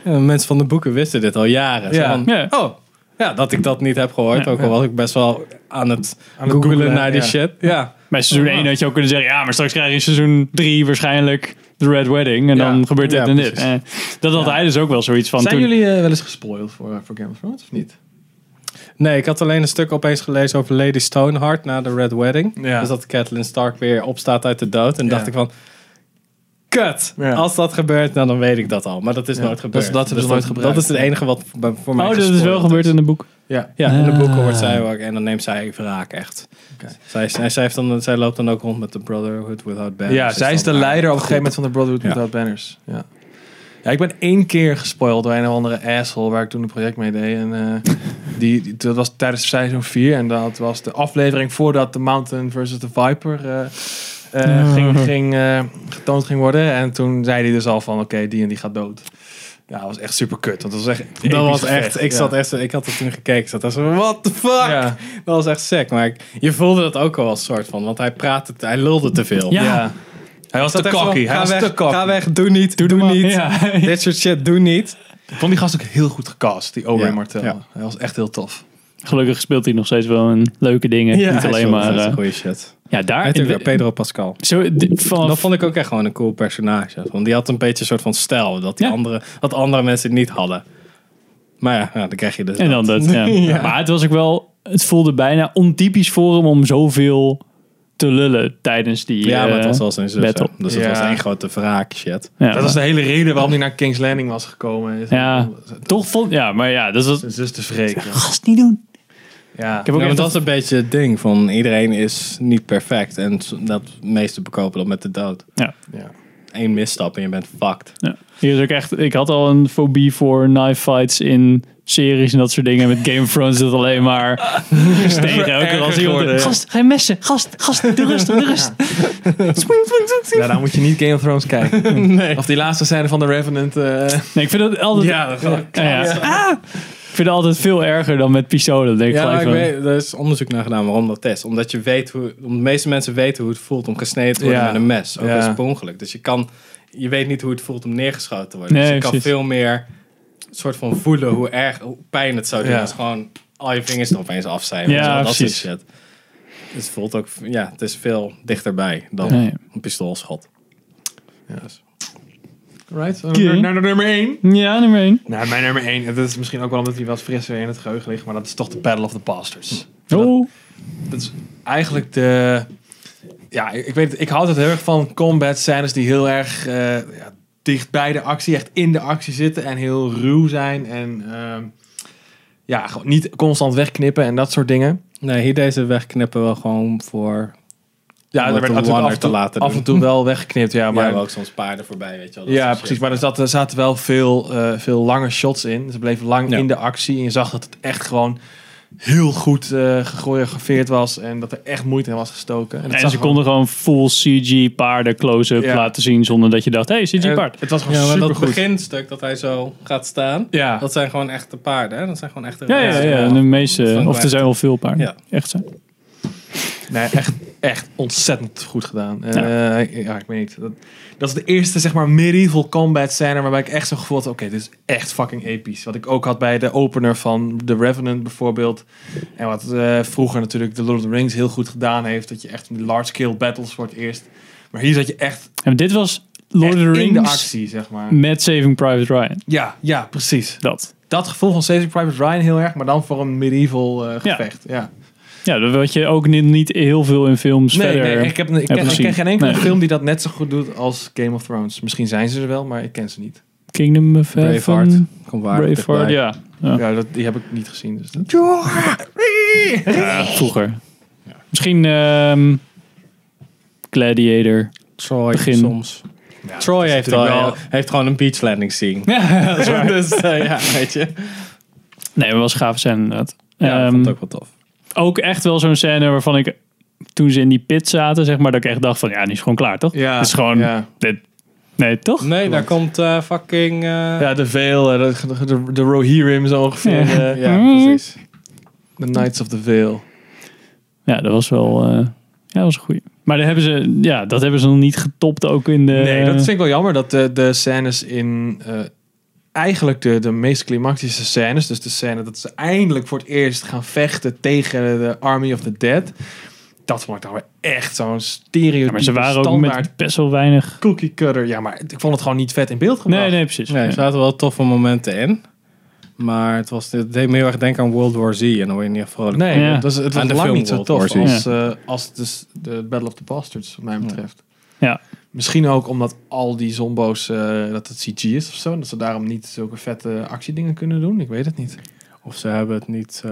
[SPEAKER 3] ja, mensen van de boeken wisten dit al jaren. Zo
[SPEAKER 2] Ja.
[SPEAKER 3] van,
[SPEAKER 1] Ja.
[SPEAKER 3] Oh, ja, dat ik dat niet heb gehoord.
[SPEAKER 1] Ja.
[SPEAKER 3] ook al was ik best wel aan het
[SPEAKER 2] Aan het
[SPEAKER 3] googelen
[SPEAKER 2] googelen,
[SPEAKER 3] naar die
[SPEAKER 2] ja.
[SPEAKER 3] shit. Ja.
[SPEAKER 1] Bij seizoen 1 had je ook kunnen zeggen, ja, maar straks krijg je in seizoen 3 waarschijnlijk de Red Wedding. En
[SPEAKER 2] Ja.
[SPEAKER 1] dan gebeurt dit
[SPEAKER 3] Ja,
[SPEAKER 1] en dit.
[SPEAKER 3] precies.
[SPEAKER 1] Eh, dat had hij dus ook wel zoiets van.
[SPEAKER 2] Zijn
[SPEAKER 1] toen-
[SPEAKER 2] jullie eh, wel eens gespoild voor, voor Game of Thrones of niet?
[SPEAKER 3] Nee, ik had alleen een stuk opeens gelezen over Lady Stoneheart na de Red Wedding.
[SPEAKER 2] Ja.
[SPEAKER 3] Dus dat Catelyn Stark weer opstaat uit de dood. En
[SPEAKER 2] Ja.
[SPEAKER 3] dacht ik van... Kut!
[SPEAKER 2] Ja.
[SPEAKER 3] Als dat gebeurt, nou, dan weet ik dat al. Maar dat is
[SPEAKER 2] Ja.
[SPEAKER 3] nooit
[SPEAKER 2] Dat- dat
[SPEAKER 3] gebeurd.
[SPEAKER 2] hebben ze
[SPEAKER 3] Dus
[SPEAKER 2] nooit gebruikt.
[SPEAKER 3] Dat is het enige wat voor voor mij
[SPEAKER 1] Oh, dat is wel
[SPEAKER 3] gespoild
[SPEAKER 1] gebeurd in het boek.
[SPEAKER 2] Ja.
[SPEAKER 3] Ja, in de
[SPEAKER 1] Ah.
[SPEAKER 3] boeken wordt zij ook. En dan neemt zij wraak echt.
[SPEAKER 2] Oké.
[SPEAKER 3] Zij, zij, zij, heeft dan, zij loopt dan ook rond met de Brotherhood Without Banners.
[SPEAKER 2] Ja, zij is de
[SPEAKER 3] dan haar
[SPEAKER 2] leider op een
[SPEAKER 3] groep.
[SPEAKER 2] gegeven moment van de Brotherhood
[SPEAKER 3] Ja.
[SPEAKER 2] Without Banners. Ja. ja, ik ben één keer gespoild door een of andere asshole waar ik toen een project mee deed. En, eh, die, die- dat was tijdens seizoen 4 en dat was de aflevering voordat de Mountain versus de Viper eh, eh,
[SPEAKER 1] Oh.
[SPEAKER 2] ging, ging, eh, getoond ging worden. En toen zei hij dus al van oké, die en die gaat dood. Ja, dat was echt super kut. Want dat was echt. een
[SPEAKER 3] Dat
[SPEAKER 2] episch
[SPEAKER 3] was
[SPEAKER 2] gevecht,
[SPEAKER 3] echt, ik,
[SPEAKER 2] ja.
[SPEAKER 3] zat echt, zo- ik had dat toen gekeken. Ik zat echt zo, what the fuck?
[SPEAKER 2] Ja.
[SPEAKER 3] Dat was echt sick. Maar ik- je voelde dat ook al als soort van. Want hij praatte, te- hij lulde te veel.
[SPEAKER 1] Ja.
[SPEAKER 2] Ja. Hij was
[SPEAKER 3] Dat
[SPEAKER 2] te
[SPEAKER 3] echt zo,
[SPEAKER 2] cocky. Hij
[SPEAKER 3] Ga,
[SPEAKER 2] was
[SPEAKER 3] weg,
[SPEAKER 2] te cocky.
[SPEAKER 3] ga weg, doe niet, doe,
[SPEAKER 1] maar.
[SPEAKER 3] niet.
[SPEAKER 1] Ja.
[SPEAKER 3] Dit soort shit, doe niet.
[SPEAKER 2] Ik vond die gast ook heel goed gecast, die Owen
[SPEAKER 3] Ja,
[SPEAKER 2] Martel.
[SPEAKER 3] ja.
[SPEAKER 2] Hij was echt heel tof.
[SPEAKER 1] Gelukkig speelt hij nog steeds wel een leuke dingen. Niet alleen maar.
[SPEAKER 3] Dat is
[SPEAKER 1] eh,
[SPEAKER 3] goede shit.
[SPEAKER 1] ja, daar.
[SPEAKER 3] Hij
[SPEAKER 1] in-
[SPEAKER 3] natuurlijk Pedro Pascal.
[SPEAKER 1] zo, di- van,
[SPEAKER 3] Dat vond ik ook echt gewoon een cool personage. Want die had een beetje een soort van stijl. Dat, die
[SPEAKER 1] Ja.
[SPEAKER 3] andere, dat andere mensen niet hadden. Maar ja, ja, dan krijg je dus
[SPEAKER 1] en dan dat. Ja. Maar het was ook wel. Het voelde bijna ontypisch voor hem om zoveel te lullen tijdens die.
[SPEAKER 3] Ja, maar
[SPEAKER 1] eh,
[SPEAKER 3] het was wel zijn zus. hè.
[SPEAKER 1] battle.
[SPEAKER 3] Dus het
[SPEAKER 2] Ja.
[SPEAKER 3] was één grote wraak shit.
[SPEAKER 1] ja,
[SPEAKER 2] dat
[SPEAKER 1] maar-
[SPEAKER 2] was de hele reden waarom hij naar King's Landing was gekomen.
[SPEAKER 1] Ja. toch vond. Ja, maar ja, dat was.
[SPEAKER 2] Zijn zus te wreken.
[SPEAKER 1] Gast niet doen.
[SPEAKER 2] Ja.
[SPEAKER 1] Ik heb ook
[SPEAKER 3] Ja,
[SPEAKER 1] echt
[SPEAKER 3] maar dat is een beetje het ding van iedereen is niet perfect. En s- dat meeste bekopen dat met de dood.
[SPEAKER 2] ja.
[SPEAKER 3] Eén misstap en je bent fucked.
[SPEAKER 1] Ja. Hier is ook echt, ik had al een fobie voor knife fights in series en dat soort dingen. Met Game of Thrones is het alleen maar gestegen. Elke keer als iemand-
[SPEAKER 2] geworden, ja.
[SPEAKER 1] Gast, geen messen. Gast, gast, doe rustig, doe rustig.
[SPEAKER 2] ja, daar moet je niet Game of Thrones kijken.
[SPEAKER 3] Nee.
[SPEAKER 2] Of die laatste scène van The Revenant. eh,
[SPEAKER 1] Nee, ik vind Oh, dat altijd...
[SPEAKER 3] Ja, dat gaat
[SPEAKER 1] Ja, ja. Ah! ik vind het altijd veel erger dan met pistolen. Dan denk ik
[SPEAKER 3] Ja, maar
[SPEAKER 1] gelijk
[SPEAKER 3] ik
[SPEAKER 1] van,
[SPEAKER 3] weet, er is onderzoek naar gedaan waarom dat is. Omdat je weet hoe, omdat de meeste mensen weten hoe het voelt om gesneden te worden
[SPEAKER 2] Ja.
[SPEAKER 3] met een mes. Ook
[SPEAKER 2] Ja.
[SPEAKER 3] als per ongeluk. Dus je kan, je weet niet hoe het voelt om neergeschoten te worden.
[SPEAKER 1] Nee,
[SPEAKER 3] dus je
[SPEAKER 1] precies.
[SPEAKER 3] kan veel meer soort van voelen hoe erg, hoe pijn het zou doen
[SPEAKER 2] Ja.
[SPEAKER 3] als gewoon al je vingers er opeens af zijn.
[SPEAKER 1] Ja,
[SPEAKER 3] Weet je wel, dat soort
[SPEAKER 1] precies.
[SPEAKER 3] shit. Dus het voelt ook, ja, het is veel dichterbij dan
[SPEAKER 1] Nee.
[SPEAKER 3] een pistoolschot.
[SPEAKER 2] Ja.
[SPEAKER 3] Dus-
[SPEAKER 2] right,
[SPEAKER 1] Oké.
[SPEAKER 2] naar, naar nummer 1.
[SPEAKER 1] Ja, nummer één.
[SPEAKER 2] Nou, mijn nummer 1. Dat is misschien ook wel omdat hij wat frisser in het geheugen ligt. Maar dat is toch de Battle of the Bastards.
[SPEAKER 1] Oh.
[SPEAKER 2] Dat is eigenlijk de... Ja, ik weet het. Ik houd het heel erg van combat scènes die heel erg eh, ja, dicht bij de actie, echt in de actie zitten en heel ruw zijn. En ehm, ja, gewoon niet constant wegknippen en dat soort dingen.
[SPEAKER 3] Nee, hier deze wegknippen we gewoon voor...
[SPEAKER 2] Ja,
[SPEAKER 3] Om
[SPEAKER 2] er werd
[SPEAKER 3] het een
[SPEAKER 2] natuurlijk
[SPEAKER 3] wanner
[SPEAKER 2] af en, toe,
[SPEAKER 3] te laten
[SPEAKER 2] af
[SPEAKER 3] doen.
[SPEAKER 2] en toe wel weggeknipt. Ja,
[SPEAKER 3] Ja,
[SPEAKER 2] maar, ja,
[SPEAKER 3] ook soms paarden voorbij, weet je wel. dat soort shit.
[SPEAKER 2] precies. Maar er zaten, er zaten wel veel, eh, veel lange shots in. Ze bleven lang
[SPEAKER 3] Ja.
[SPEAKER 2] in de actie. En je zag dat het echt gewoon heel goed eh gechoreografeerd was. En dat er echt moeite in was gestoken. dat
[SPEAKER 1] En
[SPEAKER 2] zag
[SPEAKER 1] ze
[SPEAKER 2] gewoon-
[SPEAKER 1] konden gewoon full CG paarden close-up
[SPEAKER 2] Ja.
[SPEAKER 1] laten zien zonder dat je dacht, hey, CG
[SPEAKER 2] en
[SPEAKER 1] paard.
[SPEAKER 2] Het was gewoon
[SPEAKER 3] Ja, maar
[SPEAKER 2] super
[SPEAKER 3] dat
[SPEAKER 2] goed.
[SPEAKER 3] beginstuk dat hij zo gaat staan...
[SPEAKER 2] Ja.
[SPEAKER 3] Dat zijn gewoon echte paarden, hè? Dat zijn gewoon echte
[SPEAKER 1] Ja, ja, ja,
[SPEAKER 3] racen.
[SPEAKER 1] ja. De meeste,
[SPEAKER 3] Van
[SPEAKER 1] of er zijn wel veel paarden.
[SPEAKER 3] Ja.
[SPEAKER 1] Echt zo.
[SPEAKER 2] Nee, echt, echt ontzettend goed gedaan. Eh, ja. ik weet niet. Dat, dat is de eerste, zeg maar, medieval combat scène waarbij ik echt zo gevoeld had, oké, dit is echt fucking episch. Wat ik ook had bij de opener van The Revenant bijvoorbeeld. En wat eh, vroeger natuurlijk The Lord of the Rings heel goed gedaan heeft. Dat je echt large-scale battles voor het eerst... Maar hier zat je echt,
[SPEAKER 1] En dit was Lord of
[SPEAKER 2] echt
[SPEAKER 1] the
[SPEAKER 2] in de
[SPEAKER 1] Rings
[SPEAKER 2] actie, zeg maar.
[SPEAKER 1] met Saving Private Ryan.
[SPEAKER 2] Ja, ja, precies.
[SPEAKER 1] Dat.
[SPEAKER 2] Dat gevoel van Saving Private Ryan heel erg, maar dan voor een medieval eh,
[SPEAKER 1] Ja.
[SPEAKER 2] gevecht. Ja.
[SPEAKER 1] Ja, dat wat je ook ni- niet heel veel in films
[SPEAKER 2] Nee,
[SPEAKER 1] verder...
[SPEAKER 2] nee, ik, heb, ik,
[SPEAKER 1] hebben
[SPEAKER 2] ken, ik
[SPEAKER 1] gezien.
[SPEAKER 2] ken geen enkele
[SPEAKER 1] Nee.
[SPEAKER 2] film die dat net zo goed doet als Game of Thrones. Misschien zijn ze er wel, maar ik ken ze niet.
[SPEAKER 1] Kingdom of Heaven...
[SPEAKER 3] Braveheart. Kom waar.
[SPEAKER 1] Braveheart, ja. Ja.
[SPEAKER 2] Ja, dat, die heb ik niet gezien. Dus dat-
[SPEAKER 1] Vroeger. Misschien ehm, Gladiator.
[SPEAKER 3] Troy
[SPEAKER 1] Begin.
[SPEAKER 3] soms.
[SPEAKER 2] Ja,
[SPEAKER 3] Troy
[SPEAKER 2] dat is
[SPEAKER 3] heeft, al,
[SPEAKER 2] natuurlijk
[SPEAKER 3] heeft gewoon een beach landing scene.
[SPEAKER 1] Ja,
[SPEAKER 3] dus eh, ja, weet je.
[SPEAKER 1] Nee, maar was gaaf zijn inderdaad.
[SPEAKER 3] Ja, dat
[SPEAKER 1] Ehm,
[SPEAKER 3] vond ik ook wel tof.
[SPEAKER 1] ook echt wel zo'n scène waarvan ik toen ze in die pit zaten, zeg maar, dat ik echt dacht van ja, die is gewoon klaar, toch?
[SPEAKER 2] Ja,
[SPEAKER 1] Het is gewoon,
[SPEAKER 2] ja.
[SPEAKER 1] dit- nee, toch?
[SPEAKER 3] Nee, daar komt eh, fucking... eh,
[SPEAKER 2] Ja, de Veil, eh, de, de, de Rohirrim zo ongeveer.
[SPEAKER 1] Ja.
[SPEAKER 2] eh,
[SPEAKER 3] ja, precies.
[SPEAKER 2] The Knights of the Veil.
[SPEAKER 1] Ja, dat was wel, eh, ja, dat was een goeie. Maar daar hebben ze, ja, dat hebben ze nog niet getopt ook in de...
[SPEAKER 2] Nee, dat vind ik wel jammer dat de, de scènes in... eh, eigenlijk de, de meest climactische scènes... dus de scène dat ze eindelijk voor het eerst gaan vechten... tegen de Army of the Dead... dat vond ik dan weer echt zo'n stereotype
[SPEAKER 1] Ja, maar ze waren ook
[SPEAKER 2] standaard
[SPEAKER 1] met best wel weinig...
[SPEAKER 2] cookie cutter. Ja, maar ik vond het gewoon niet vet in beeld gebracht.
[SPEAKER 1] Nee, nee, precies.
[SPEAKER 3] Nee, er zaten wel toffe momenten in. Maar het, was, het deed me heel erg denken aan World War Z. En dan word je niet echt vrolijk.
[SPEAKER 2] Nee,
[SPEAKER 1] Ja.
[SPEAKER 2] dat is, het was
[SPEAKER 3] Aan de
[SPEAKER 2] lang
[SPEAKER 3] film
[SPEAKER 2] niet zo
[SPEAKER 3] World
[SPEAKER 2] tof
[SPEAKER 3] War
[SPEAKER 1] Z.
[SPEAKER 2] als, eh, als de, de Battle of the Bastards, wat mij betreft.
[SPEAKER 1] Ja.
[SPEAKER 2] Misschien ook omdat al die zombo's, eh, dat het CG is of zo. en Dat ze daarom niet zulke vette actiedingen kunnen doen. Ik weet het niet.
[SPEAKER 3] Of ze hebben het niet... eh,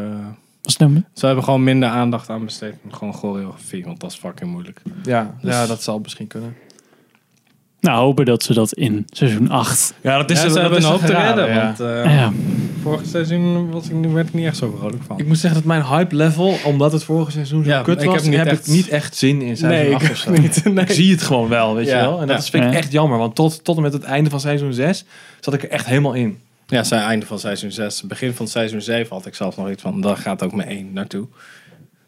[SPEAKER 1] Was het nou me-
[SPEAKER 3] ze hebben gewoon minder aandacht aan besteed. aan Gewoon choreografie, want dat is fucking moeilijk.
[SPEAKER 2] Ja,
[SPEAKER 3] Dus-
[SPEAKER 2] ja dat zal misschien kunnen.
[SPEAKER 1] Nou, hopen dat ze dat in seizoen 8...
[SPEAKER 2] Ja, dat
[SPEAKER 3] Ja, ze hebben een hoop te redden. Want eh,
[SPEAKER 1] ja.
[SPEAKER 3] vorig seizoen was ik, werd ik niet echt zo vrolijk van.
[SPEAKER 2] Ik moet zeggen dat mijn hype level, omdat het vorige seizoen zo
[SPEAKER 3] Ja,
[SPEAKER 2] kut
[SPEAKER 3] ik
[SPEAKER 2] was,
[SPEAKER 3] heb
[SPEAKER 2] heb,
[SPEAKER 3] niet echt-
[SPEAKER 2] ik niet echt zin in seizoen
[SPEAKER 3] nee,
[SPEAKER 2] 8
[SPEAKER 3] ik
[SPEAKER 2] of zo.
[SPEAKER 3] ook niet. Nee.
[SPEAKER 2] Ik zie het gewoon wel, weet
[SPEAKER 3] Ja.
[SPEAKER 2] je wel. En dat
[SPEAKER 3] Ja.
[SPEAKER 2] is vind ik
[SPEAKER 1] Ja.
[SPEAKER 2] echt jammer, want tot, tot en met het einde van seizoen 6 zat ik er echt helemaal in.
[SPEAKER 3] Ja, zijn einde van seizoen 6. Begin van seizoen 7 had ik zelfs nog iets van. Daar gaat ook mijn 1 naartoe.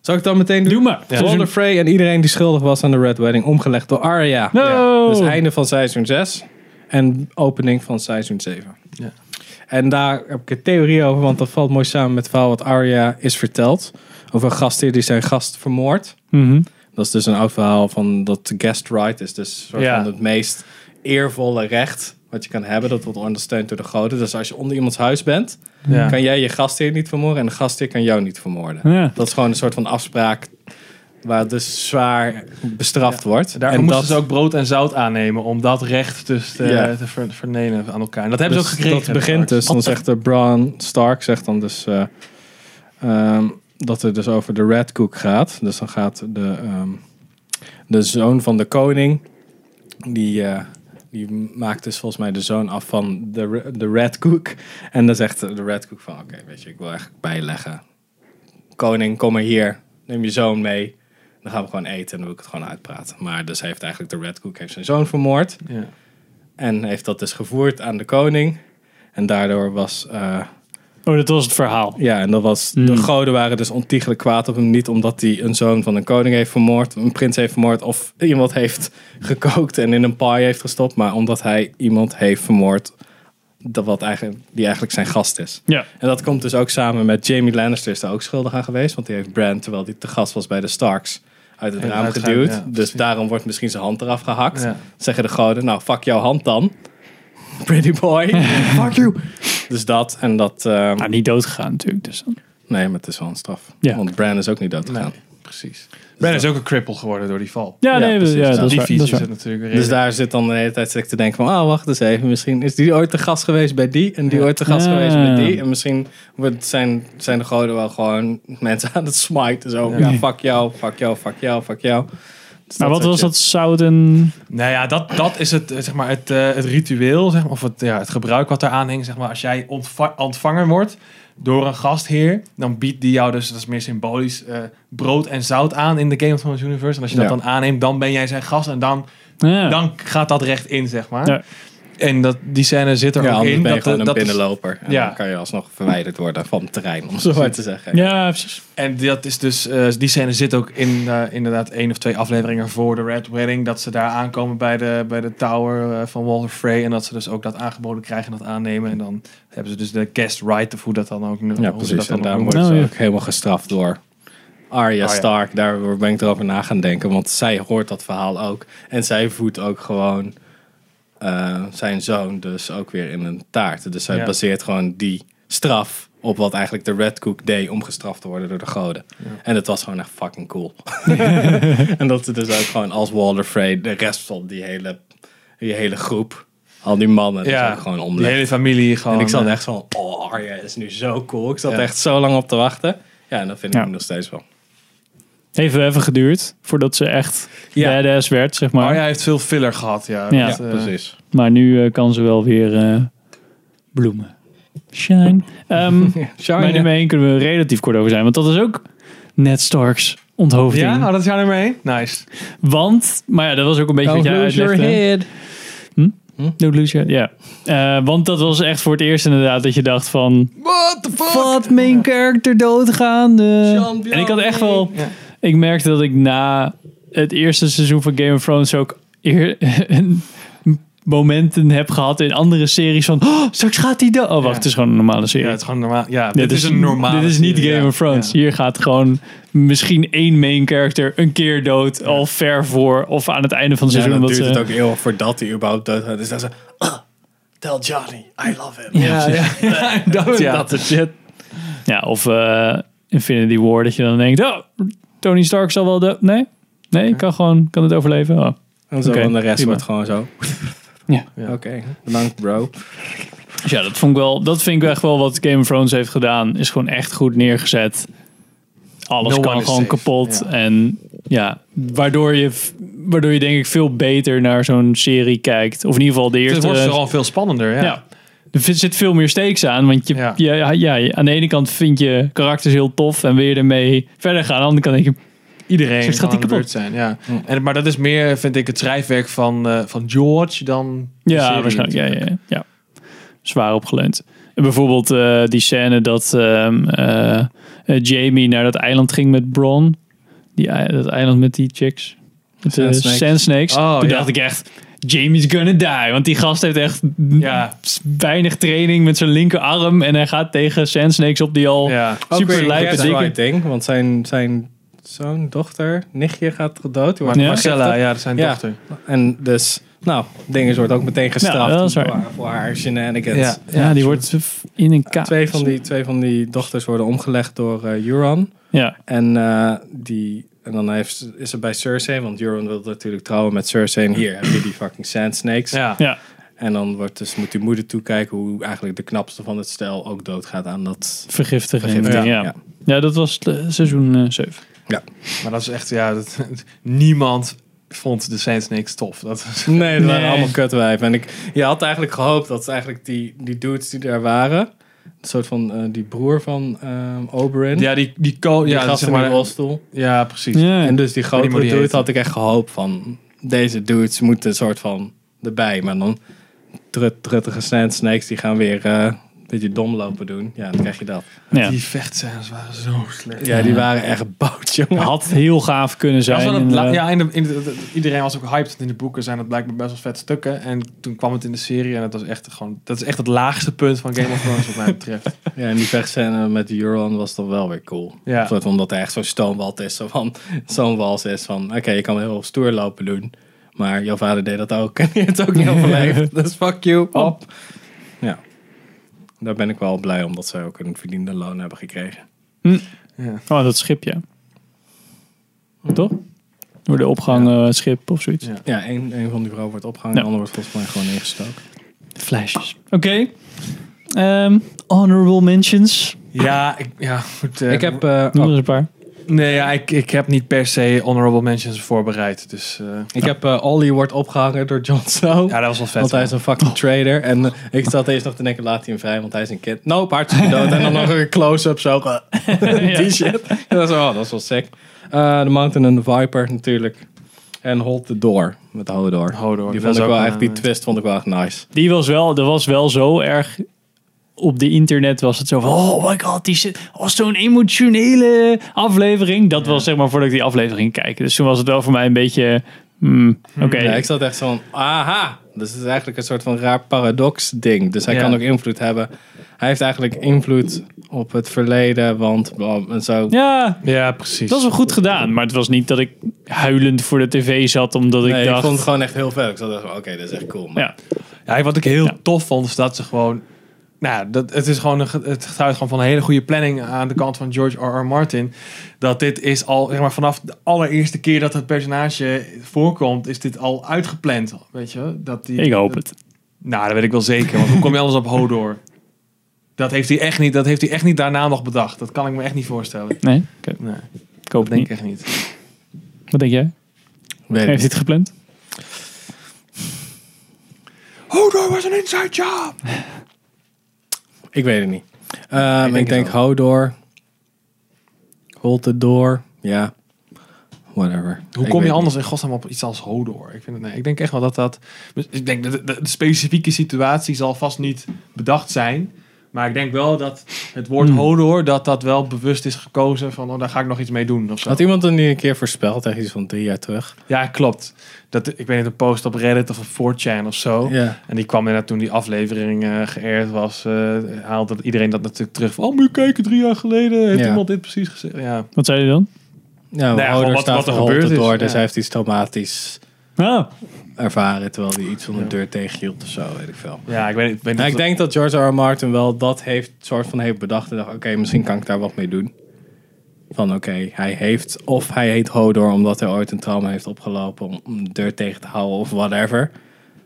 [SPEAKER 3] Zal ik dan meteen doen?
[SPEAKER 1] Doe maar.
[SPEAKER 3] Ja. Walder Frey en iedereen die schuldig was aan de Red Wedding omgelegd door Arya.
[SPEAKER 1] No!
[SPEAKER 3] Dus einde van seizoen 6 en opening van seizoen 7.
[SPEAKER 2] Ja.
[SPEAKER 3] En daar heb ik een theorie over, want dat valt mooi samen met het verhaal wat Arya is verteld. Over een gastheer die zijn gast vermoordt.
[SPEAKER 1] Mhm.
[SPEAKER 3] Dat is dus een oud verhaal van dat de guest right is. Dus een soort
[SPEAKER 1] Ja.
[SPEAKER 3] van het meest eervolle recht wat je kan hebben. Dat wordt ondersteund door de goden. Dus als je onder iemands huis bent,
[SPEAKER 2] Ja.
[SPEAKER 3] kan jij je gastheer niet vermoorden en de gastheer kan jou niet vermoorden.
[SPEAKER 1] Ja.
[SPEAKER 3] Dat is gewoon een soort van afspraak waar het dus zwaar bestraft wordt.
[SPEAKER 2] Daarvoor
[SPEAKER 3] en
[SPEAKER 2] moesten
[SPEAKER 3] dat,
[SPEAKER 2] ze ook brood en zout aannemen om dat recht dus te,
[SPEAKER 3] Ja.
[SPEAKER 2] te ver- vernenen aan elkaar. En dat hebben
[SPEAKER 3] dus
[SPEAKER 2] ze ook gekregen.
[SPEAKER 3] Dat begint dus. Dan zegt de Bran Stark zegt dan dus eh, ehm, dat het dus over de Red Cook gaat. Dus dan gaat de, ehm, de zoon van de koning die eh, die maakt dus volgens mij de zoon af van de, re- de Red Cook. En dan zegt de Red Cook van, oké, weet je, ik wil eigenlijk bijleggen. Koning, kom maar hier. Neem je zoon mee. Dan gaan we gewoon eten en dan wil ik het gewoon uitpraten. Maar dus heeft eigenlijk de Red Cook heeft zijn zoon vermoord.
[SPEAKER 2] Ja.
[SPEAKER 3] En heeft dat dus gevoerd aan de koning. En daardoor was... eh,
[SPEAKER 1] Oh, dat was het verhaal.
[SPEAKER 3] ja, en dat was...
[SPEAKER 1] Hmm.
[SPEAKER 3] De goden waren dus ontiegelijk kwaad op hem. Niet omdat hij een zoon van een koning heeft vermoord. Een prins heeft vermoord. Of iemand heeft gekookt en in een paai heeft gestopt. Maar omdat hij iemand heeft vermoord. Dat wat eigenlijk, die eigenlijk zijn gast is.
[SPEAKER 1] Ja.
[SPEAKER 3] En dat komt dus ook samen met Jamie Lannister is daar ook schuldig aan geweest. Want die heeft Bran, terwijl hij te gast was bij de Starks, uit het
[SPEAKER 2] Ja,
[SPEAKER 3] raam
[SPEAKER 2] uitgehaald,
[SPEAKER 3] geduwd.
[SPEAKER 2] ja,
[SPEAKER 3] dus
[SPEAKER 2] precies.
[SPEAKER 3] daarom wordt misschien zijn hand eraf gehakt.
[SPEAKER 2] Ja.
[SPEAKER 3] Zeggen de goden, nou fuck jouw hand dan. Pretty boy. fuck you. Dus dat en dat... ehm,
[SPEAKER 2] Ah,
[SPEAKER 1] Nou, niet doodgegaan natuurlijk. Dus dan.
[SPEAKER 3] nee, maar het is wel een straf.
[SPEAKER 1] Ja.
[SPEAKER 3] Want Bran is ook niet Dus dood
[SPEAKER 2] Nee,
[SPEAKER 3] gegaan.
[SPEAKER 2] precies. Ben is ook een cripple geworden door die val.
[SPEAKER 1] Ja,
[SPEAKER 3] Ja,
[SPEAKER 1] nee,
[SPEAKER 3] precies.
[SPEAKER 1] ja, dat,
[SPEAKER 3] Nou,
[SPEAKER 1] is
[SPEAKER 2] die
[SPEAKER 1] waar, dat is
[SPEAKER 2] fiets
[SPEAKER 1] waar.
[SPEAKER 2] Dus is het natuurlijk weer in.
[SPEAKER 3] Dus daar zit dan de hele tijd zit ik te denken van, ah wacht eens even, misschien is die ooit te gast geweest bij die en die
[SPEAKER 2] Ja.
[SPEAKER 3] ooit te gast
[SPEAKER 1] Ja.
[SPEAKER 3] geweest bij die. En misschien wordt, zijn, zijn de goden wel gewoon mensen aan het smijten. Zo, ja,
[SPEAKER 1] Ja.
[SPEAKER 3] fuck jou, fuck jou, fuck jou, fuck jou. Dus
[SPEAKER 1] Maar wat
[SPEAKER 3] soort
[SPEAKER 1] was
[SPEAKER 3] shit.
[SPEAKER 1] dat zout en...
[SPEAKER 2] Nou ja, dat, dat is het, eh, zeg maar, het, eh, het ritueel, zeg maar, of het, ja, het gebruik wat eraan hing. Zeg maar, als jij ontva- ontvangen wordt door een gastheer, dan biedt die jou dus, dat is meer symbolisch, eh, brood en zout aan in de Game of Thrones Universe. En als je
[SPEAKER 3] Ja.
[SPEAKER 2] dat dan aanneemt, dan ben jij zijn gast en dan
[SPEAKER 1] Ja.
[SPEAKER 2] dan gaat dat recht in, zeg maar.
[SPEAKER 1] Ja.
[SPEAKER 2] En dat, die scène zit er
[SPEAKER 3] Ja,
[SPEAKER 2] ook
[SPEAKER 3] anders
[SPEAKER 2] in.
[SPEAKER 3] ben je
[SPEAKER 2] dat,
[SPEAKER 3] gewoon
[SPEAKER 2] eh,
[SPEAKER 3] een
[SPEAKER 2] dat is-
[SPEAKER 3] binnenloper. En
[SPEAKER 2] Ja.
[SPEAKER 3] dan kan je alsnog verwijderd worden van het terrein, om zo maar te zeggen.
[SPEAKER 1] Ja, precies.
[SPEAKER 2] En dat is dus, eh, die scène zit ook in eh, inderdaad één of twee afleveringen voor de Red Wedding. Dat ze daar aankomen bij de, bij de tower eh, van Walter Frey. En dat ze dus ook dat aangeboden krijgen en dat aannemen. En dan hebben ze dus de guest right, of hoe dat dan ook
[SPEAKER 3] Ja,
[SPEAKER 2] hoe ze dat
[SPEAKER 3] precies. En
[SPEAKER 2] dan
[SPEAKER 3] daarom
[SPEAKER 2] ook
[SPEAKER 3] wordt eh,
[SPEAKER 1] Oh,
[SPEAKER 3] ze
[SPEAKER 1] ja.
[SPEAKER 3] ook helemaal gestraft door Arya
[SPEAKER 2] Arya.
[SPEAKER 3] Stark. Daarvoor ben ik erover na gaan denken, want zij hoort dat verhaal ook. En zij voedt ook gewoon eh, zijn zoon dus ook weer in een taart. Dus zij
[SPEAKER 2] Ja.
[SPEAKER 3] baseert gewoon die straf op wat eigenlijk de Red Cook deed om gestraft te worden door de goden. En dat was gewoon echt fucking cool. en dat ze dus ook gewoon als Walder Frey de rest van die hele, die hele groep, al die mannen, dus
[SPEAKER 2] Ja,
[SPEAKER 3] ook gewoon
[SPEAKER 2] De
[SPEAKER 3] omleggen.
[SPEAKER 2] hele familie gewoon.
[SPEAKER 3] En ik zat
[SPEAKER 2] eh,
[SPEAKER 3] echt van, oh Arya is nu zo cool. Ik zat
[SPEAKER 2] Ja.
[SPEAKER 3] echt zo lang op te wachten. Ja, en dat vind ik
[SPEAKER 1] Ja.
[SPEAKER 3] hem nog steeds wel.
[SPEAKER 1] Heeft wel even geduurd voordat ze echt
[SPEAKER 3] Ja.
[SPEAKER 1] badass werd, zeg maar.
[SPEAKER 2] Maar oh, hij heeft veel filler gehad, ja.
[SPEAKER 1] Ja.
[SPEAKER 2] Dat, eh,
[SPEAKER 3] precies.
[SPEAKER 1] Maar nu eh, kan ze wel weer eh, bloemen. Shine. Ehm maar nummer 1 kunnen we relatief kort over zijn. Want dat is ook Ned Stark's onthoofding.
[SPEAKER 2] Ja, oh, dat is jou nummer één? Nice.
[SPEAKER 1] Want, maar ja, dat was ook een beetje wat jij uitlegde.
[SPEAKER 2] Hm?
[SPEAKER 1] Don't lose your- Ja. Eh, want dat was echt voor het eerst inderdaad dat je dacht van...
[SPEAKER 2] What the
[SPEAKER 1] Wat, mijn karakter doodgaan. eh.
[SPEAKER 3] Sean
[SPEAKER 1] en ik had echt wel...
[SPEAKER 2] Ja.
[SPEAKER 1] Ik merkte dat ik na het eerste seizoen van Game of Thrones ook... Eer, een- momenten heb gehad in andere series van... "Oh, straks gaat hij dood. Oh, wacht,
[SPEAKER 2] Ja.
[SPEAKER 1] het is gewoon een normale serie.
[SPEAKER 2] Ja, het is gewoon normaal. Ja, dit, is, een normale
[SPEAKER 1] Dit is niet
[SPEAKER 2] serie,
[SPEAKER 1] Game
[SPEAKER 2] ja.
[SPEAKER 1] of Thrones.
[SPEAKER 2] Ja.
[SPEAKER 1] Hier gaat gewoon misschien één main character een keer dood, al ver voor of aan het einde van het
[SPEAKER 3] Ja,
[SPEAKER 1] seizoen.
[SPEAKER 3] dan duurt
[SPEAKER 1] omdat
[SPEAKER 3] het
[SPEAKER 1] ze-
[SPEAKER 3] ook heel voordat hij überhaupt dood gaat. Dus dan ze, "Ah, tell Johnny, I love him.
[SPEAKER 1] Ja,
[SPEAKER 2] Ja, ja, dat, ja.
[SPEAKER 3] Dat is shit.
[SPEAKER 1] Ja, of eh, Infinity War, dat je dan denkt, oh, Tony Stark zal wel dood. Nee, nee, ik kan gewoon, kan het overleven. Oh.
[SPEAKER 3] En zo,
[SPEAKER 1] Oké,
[SPEAKER 3] en de rest
[SPEAKER 1] prima.
[SPEAKER 3] wordt gewoon zo.
[SPEAKER 1] Ja.
[SPEAKER 3] Oké, bedankt bro.
[SPEAKER 1] Dus ja, dat, vond ik wel, dat vind ik echt wel wat Game of Thrones heeft gedaan. Is gewoon echt goed neergezet. Alles
[SPEAKER 2] No one
[SPEAKER 1] kan
[SPEAKER 2] is
[SPEAKER 1] gewoon
[SPEAKER 2] safe.
[SPEAKER 1] kapot.
[SPEAKER 2] Ja.
[SPEAKER 1] En ja, waardoor je, f- waardoor je denk ik veel beter naar zo'n serie kijkt. Of in ieder geval de
[SPEAKER 2] Het
[SPEAKER 1] eerste.
[SPEAKER 2] wordt vooral veel spannender, ja.
[SPEAKER 1] Ja. Er vi- zit veel meer stakes aan, want je,
[SPEAKER 2] Ja.
[SPEAKER 1] ja. Ja, ja, aan de ene kant vind je karakters heel tof en wil je ermee verder gaan. Aan de andere kant denk je,
[SPEAKER 2] Iedereen
[SPEAKER 1] Straks gaat
[SPEAKER 2] kan
[SPEAKER 1] die
[SPEAKER 2] aan de
[SPEAKER 1] kapot.
[SPEAKER 2] beurt zijn, ja. En, maar dat is meer, vind ik, het schrijfwerk van, eh, van George dan... de
[SPEAKER 1] Ja,
[SPEAKER 2] serie
[SPEAKER 1] waarschijnlijk. Ja,
[SPEAKER 2] natuurlijk.
[SPEAKER 1] ja, ja. Zwaar opgeleund. En bijvoorbeeld eh, die scène dat ehm, eh, eh, Jamie naar dat eiland ging met Bron. Die, ei- dat eiland met die chicks. Met de
[SPEAKER 3] Sand Snakes.
[SPEAKER 1] Sand Snakes.
[SPEAKER 2] Oh,
[SPEAKER 1] Toen
[SPEAKER 2] ja.
[SPEAKER 1] dacht ik echt, Jamie's gonna die. Want die gast heeft echt
[SPEAKER 2] Ja.
[SPEAKER 1] s- weinig training met zijn linkerarm. En hij gaat tegen Sand Snakes op die al...
[SPEAKER 2] Ja.
[SPEAKER 1] Super
[SPEAKER 3] Ook weer
[SPEAKER 1] lijpe
[SPEAKER 3] That's
[SPEAKER 1] dikke-
[SPEAKER 3] right ding, want zijn, zijn zoon, dochter, nichtje gaat gedood. Die wordt
[SPEAKER 1] Ja.
[SPEAKER 2] Marcella, ja, dat zijn
[SPEAKER 3] Ja.
[SPEAKER 2] dochter.
[SPEAKER 3] En dus, nou, dingen wordt ook meteen gestraft
[SPEAKER 1] Ja, dat is waar.
[SPEAKER 3] voor, haar- voor haar shenanigans.
[SPEAKER 2] Ja.
[SPEAKER 1] Ja, die wordt in een kaart.
[SPEAKER 3] Twee, van die, twee van die dochters worden omgelegd door eh, Euron.
[SPEAKER 1] Ja,
[SPEAKER 3] En, eh, die, en dan heeft, ze- is ze bij Cersei, want Euron wil natuurlijk trouwen met Cersei. En hier heb je die fucking Sand Snakes.
[SPEAKER 2] Ja.
[SPEAKER 1] ja.
[SPEAKER 3] En dan wordt dus, moet die moeder toekijken hoe eigenlijk de knapste van het stel ook doodgaat aan dat...
[SPEAKER 1] Vergiftiging.
[SPEAKER 3] Vergiftiging,
[SPEAKER 1] ja. Ja.
[SPEAKER 3] ja.
[SPEAKER 1] dat was het, eh, seizoen 7.
[SPEAKER 2] Maar dat is echt, ja, dat, niemand vond de Saints niks tof. Dat is,
[SPEAKER 3] Nee, dat waren
[SPEAKER 1] Nee.
[SPEAKER 3] allemaal kutwijven. En ik, je had eigenlijk gehoopt dat eigenlijk die, die dudes die daar waren... Een soort van eh, die broer van ehm, Oberyn.
[SPEAKER 2] ja, die, die, ko-
[SPEAKER 3] die
[SPEAKER 2] ja,
[SPEAKER 3] gast
[SPEAKER 2] zeg
[SPEAKER 3] in
[SPEAKER 2] maar,
[SPEAKER 3] de rolstoel.
[SPEAKER 2] ja, precies.
[SPEAKER 1] Ja.
[SPEAKER 3] En dus die grote
[SPEAKER 2] die moet die
[SPEAKER 3] dude
[SPEAKER 2] eten.
[SPEAKER 3] had ik echt gehoopt van... Deze dudes moeten een soort van erbij. Maar dan trut, truttige sand snakes die gaan weer eh, een beetje dom lopen doen. Ja, dan krijg je dat.
[SPEAKER 1] ja.
[SPEAKER 2] Die vechtscènes waren zo slecht.
[SPEAKER 3] Ja, die waren echt bout, jongen.
[SPEAKER 1] Had heel gaaf kunnen
[SPEAKER 2] Ja,
[SPEAKER 1] zijn. eh,
[SPEAKER 2] ze hadden het la-
[SPEAKER 1] inderdaad.
[SPEAKER 2] ja, in de, in de- de- iedereen was ook hyped. want In de boeken zijn dat blijkbaar best wel vet stukken. En toen kwam het in de serie. En dat, was echt gewoon, dat is echt het laagste punt van Game of Thrones, wat mij betreft.
[SPEAKER 3] Ja, en die vechtscène met Euron was dan wel weer cool.
[SPEAKER 2] Ja.
[SPEAKER 3] Een soort van dat hij echt zo'n stoomwalt is. Zo van, zo'n wals is van... Oké, je kan wel heel stoer lopen doen. Maar jouw vader deed dat ook. En die heeft het ook niet overleefd. Dus fuck
[SPEAKER 2] Oh.
[SPEAKER 3] you, op. Ja. Daar ben ik wel blij om dat zij ook een verdiende loon hebben gekregen.
[SPEAKER 2] Ja.
[SPEAKER 1] Oh, dat schip, ja. Toch? Door de opgehangen eh, schip of zoiets.
[SPEAKER 2] Hm. Ja.
[SPEAKER 3] Ja, één, één van die vrouwen wordt opgehangen,
[SPEAKER 1] Ja.
[SPEAKER 3] de ander wordt volgens mij gewoon ingestoken.
[SPEAKER 1] Flesjes. Oké. Ehm, honorable mentions.
[SPEAKER 2] Ja, ik, ja, goed. eh,
[SPEAKER 3] ik heb, eh,
[SPEAKER 1] Noem er
[SPEAKER 3] oh,
[SPEAKER 1] eens een paar.
[SPEAKER 2] Nee, ja, ik, ik heb niet per se honorable mentions voorbereid. Dus eh,
[SPEAKER 3] ik heb eh, Ollie wordt opgehangen door Jon Snow.
[SPEAKER 2] ja, dat was wel vet.
[SPEAKER 3] want hij is een fucking trader. En eh, ik zat eerst nog te denken, laat hij hem vrij, want hij is een kind. Nope, hartstikke dood. en dan nog een close-up zo. eh,
[SPEAKER 1] Ja.
[SPEAKER 3] Die shit. En dat is, oh, dat is wel sick. Eh, The Mountain and the Viper natuurlijk. En Hold the Door, met Hodor.
[SPEAKER 2] Hodor,
[SPEAKER 3] Die,
[SPEAKER 2] dat
[SPEAKER 3] vond
[SPEAKER 2] is
[SPEAKER 3] ik
[SPEAKER 2] ook
[SPEAKER 3] wel
[SPEAKER 2] een,
[SPEAKER 3] echt, die
[SPEAKER 2] eh,
[SPEAKER 3] twist vond ik wel echt nice.
[SPEAKER 1] Die was wel, dat was wel zo erg. Op de internet was het zo van, oh my god, die zit- was zo'n emotionele aflevering. Dat was zeg maar voordat ik die aflevering kijk. Dus toen was het wel voor mij een beetje, hmm, oké.
[SPEAKER 3] Ja, ik zat echt zo van, aha. Dus het is eigenlijk een soort van raar paradox ding. Dus hij
[SPEAKER 1] Ja.
[SPEAKER 3] kan ook invloed hebben. Hij heeft eigenlijk invloed op het verleden, want bla, en zo.
[SPEAKER 1] Ja,
[SPEAKER 2] Ja, precies.
[SPEAKER 1] dat was wel goed gedaan. Maar het was niet dat ik huilend voor de tv zat, omdat ik
[SPEAKER 3] nee, ik
[SPEAKER 1] dacht...
[SPEAKER 3] vond het gewoon echt heel vet. Ik zat echt van, oké, dat is echt cool. man.
[SPEAKER 1] ja.
[SPEAKER 2] Ja, wat ik heel
[SPEAKER 1] Ja.
[SPEAKER 2] tof vond, is dat ze gewoon... Nou, ja, dat, het is gewoon een, ge- het getuigt gewoon van een hele goede planning aan de kant van George R.R. Martin. Dat dit is al, zeg maar, vanaf de allereerste keer dat het personage voorkomt, is dit al uitgepland. Weet je, dat die,
[SPEAKER 1] Ik hoop het.
[SPEAKER 2] Nou, dat weet ik wel zeker. Want hoe kom je anders op Hodor? Dat heeft, hij echt niet, dat heeft hij echt niet daarna nog bedacht. Dat kan ik me echt niet voorstellen.
[SPEAKER 1] Nee,
[SPEAKER 2] Nee,
[SPEAKER 1] ik hoop
[SPEAKER 2] dat
[SPEAKER 1] het
[SPEAKER 2] denk ik
[SPEAKER 1] niet.
[SPEAKER 2] echt niet.
[SPEAKER 1] Wat denk jij?
[SPEAKER 3] Weet ik
[SPEAKER 1] Heeft
[SPEAKER 3] niet.
[SPEAKER 1] dit gepland?
[SPEAKER 2] Hodor was een inside job!
[SPEAKER 3] Ik weet het niet. Ehm, ik
[SPEAKER 2] denk
[SPEAKER 3] denk,
[SPEAKER 2] het
[SPEAKER 3] Hodor. Hold the door. Ja. Whatever.
[SPEAKER 2] Hoe
[SPEAKER 3] Ik
[SPEAKER 2] kom je
[SPEAKER 3] weet
[SPEAKER 2] anders in godsnaam op iets als Hodor? Ik, vind het, nee, ik denk echt wel dat dat... Ik denk dat de, de- de specifieke situatie zal vast niet bedacht zijn. Maar ik denk wel dat het woord
[SPEAKER 1] Hmm.
[SPEAKER 2] Hodor... dat dat wel bewust is gekozen van... Oh, daar ga ik nog iets mee doen of
[SPEAKER 3] niet.
[SPEAKER 2] zo.
[SPEAKER 3] Had iemand dat niet een keer voorspeld, echt iets van drie jaar terug?
[SPEAKER 2] Ja, klopt. Dat, ik weet niet, een post op Reddit of op 4chan of zo.
[SPEAKER 3] Ja.
[SPEAKER 2] En die kwam inderdaad toen die aflevering eh geëerd was... eh, haalde iedereen dat natuurlijk terug. Van, oh, moet je kijken, drie jaar geleden heeft
[SPEAKER 3] Ja.
[SPEAKER 2] iemand dit precies gezegd. Ja,
[SPEAKER 1] Wat zei je dan?
[SPEAKER 3] Ja,
[SPEAKER 2] gewoon
[SPEAKER 3] Hodor
[SPEAKER 2] wat-
[SPEAKER 3] staat
[SPEAKER 2] wat er
[SPEAKER 3] voor hold
[SPEAKER 2] gebeurd
[SPEAKER 3] the
[SPEAKER 2] is.
[SPEAKER 3] door, dus
[SPEAKER 2] Ja.
[SPEAKER 3] hij heeft iets traumatisch
[SPEAKER 2] Nou,
[SPEAKER 1] Oh,
[SPEAKER 3] ervaren, terwijl hij iets van de
[SPEAKER 2] Ja.
[SPEAKER 3] deur tegenhield of zo, weet ik veel.
[SPEAKER 2] ja ik weet, ik weet niet.
[SPEAKER 3] Nou,
[SPEAKER 2] of
[SPEAKER 3] ik
[SPEAKER 2] dat-
[SPEAKER 3] denk dat George R. R. Martin wel dat heeft, soort van heeft bedacht en dacht, oké, misschien kan ik daar wat mee doen. Van oké, hij heeft, of hij heet Hodor omdat hij ooit een trauma heeft opgelopen om- om de deur tegen te houden of whatever.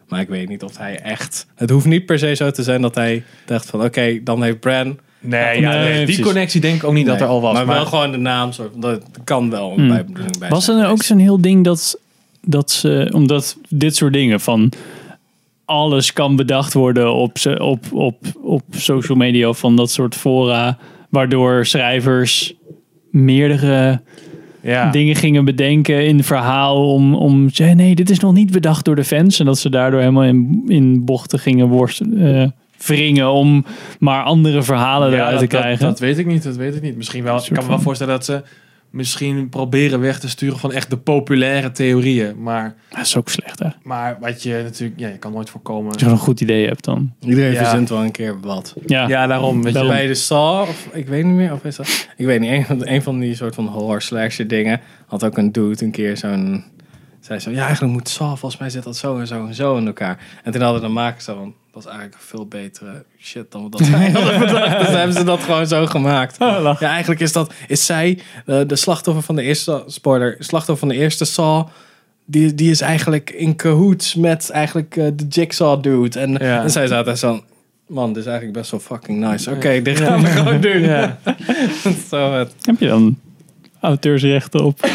[SPEAKER 3] Maar ik weet niet of hij echt, het hoeft niet per se zo te zijn dat hij dacht van oké, dan heeft Bran.
[SPEAKER 2] Nee,
[SPEAKER 1] Ja,
[SPEAKER 2] ja,
[SPEAKER 1] nee,
[SPEAKER 2] nee, die
[SPEAKER 1] precies.
[SPEAKER 2] connectie denk ik ook niet dat
[SPEAKER 3] Nee,
[SPEAKER 2] er al was.
[SPEAKER 3] Maar, wel gewoon de naam, soort, van, dat kan wel een
[SPEAKER 1] Hmm.
[SPEAKER 3] bijbedoeling bij
[SPEAKER 1] Was
[SPEAKER 3] zijn
[SPEAKER 1] er nou ook
[SPEAKER 3] geweest.
[SPEAKER 1] zo'n heel ding dat, dat ze, omdat dit soort dingen van alles kan bedacht worden op, ze- op, op, op social media of van dat soort fora, waardoor schrijvers meerdere
[SPEAKER 2] ja.
[SPEAKER 1] dingen gingen bedenken in verhaal om, om te zeggen, nee, dit is nog niet bedacht door de fans en dat ze daardoor helemaal in, in bochten gingen worsten, eh, wringen om maar andere verhalen
[SPEAKER 2] Ja,
[SPEAKER 1] eruit
[SPEAKER 2] dat-
[SPEAKER 1] te
[SPEAKER 2] dat-
[SPEAKER 1] krijgen.
[SPEAKER 2] Dat, weet ik niet, dat weet ik niet. Misschien wel,
[SPEAKER 1] Een
[SPEAKER 2] ik
[SPEAKER 1] soort
[SPEAKER 2] kan me wel
[SPEAKER 1] van-
[SPEAKER 2] voorstellen dat ze misschien proberen weg te sturen van echt de populaire theorieën. Maar,
[SPEAKER 1] dat is ook slecht hè. Als
[SPEAKER 2] maar wat je natuurlijk, ja, je kan nooit voorkomen.
[SPEAKER 1] je gewoon een goed idee hebt dan.
[SPEAKER 3] Iedereen
[SPEAKER 2] Ja.
[SPEAKER 3] verzint wel een keer wat.
[SPEAKER 1] Ja,
[SPEAKER 2] Ja, daarom. Weet
[SPEAKER 1] Daarom.
[SPEAKER 2] je,
[SPEAKER 3] Bij de Saw, of ik weet niet meer, of is dat? Ik weet niet, een, van- een van die soort van horror slasher dingen had ook een dude een keer zo'n... Zei zo, ja eigenlijk moet Saw, volgens mij zit dat zo en zo en zo in elkaar. En toen hadden de makers zo van, dat is eigenlijk een veel betere shit dan wat dat zij hadden bedacht. Dus hebben ze dat gewoon zo gemaakt.
[SPEAKER 1] lach.
[SPEAKER 3] Ja, eigenlijk is dat, is zij, eh, de slachtoffer van de eerste, spoiler, slachtoffer van de eerste Saw... Die, die is eigenlijk in cahoots met eigenlijk eh, de Jigsaw dude. En,
[SPEAKER 2] Ja.
[SPEAKER 3] en zij zaten zo man, dit is eigenlijk best wel fucking nice. Oké, dit gaan we gewoon doen.
[SPEAKER 2] Ja.
[SPEAKER 3] Zo het.
[SPEAKER 1] Heb je dan auteursrechten op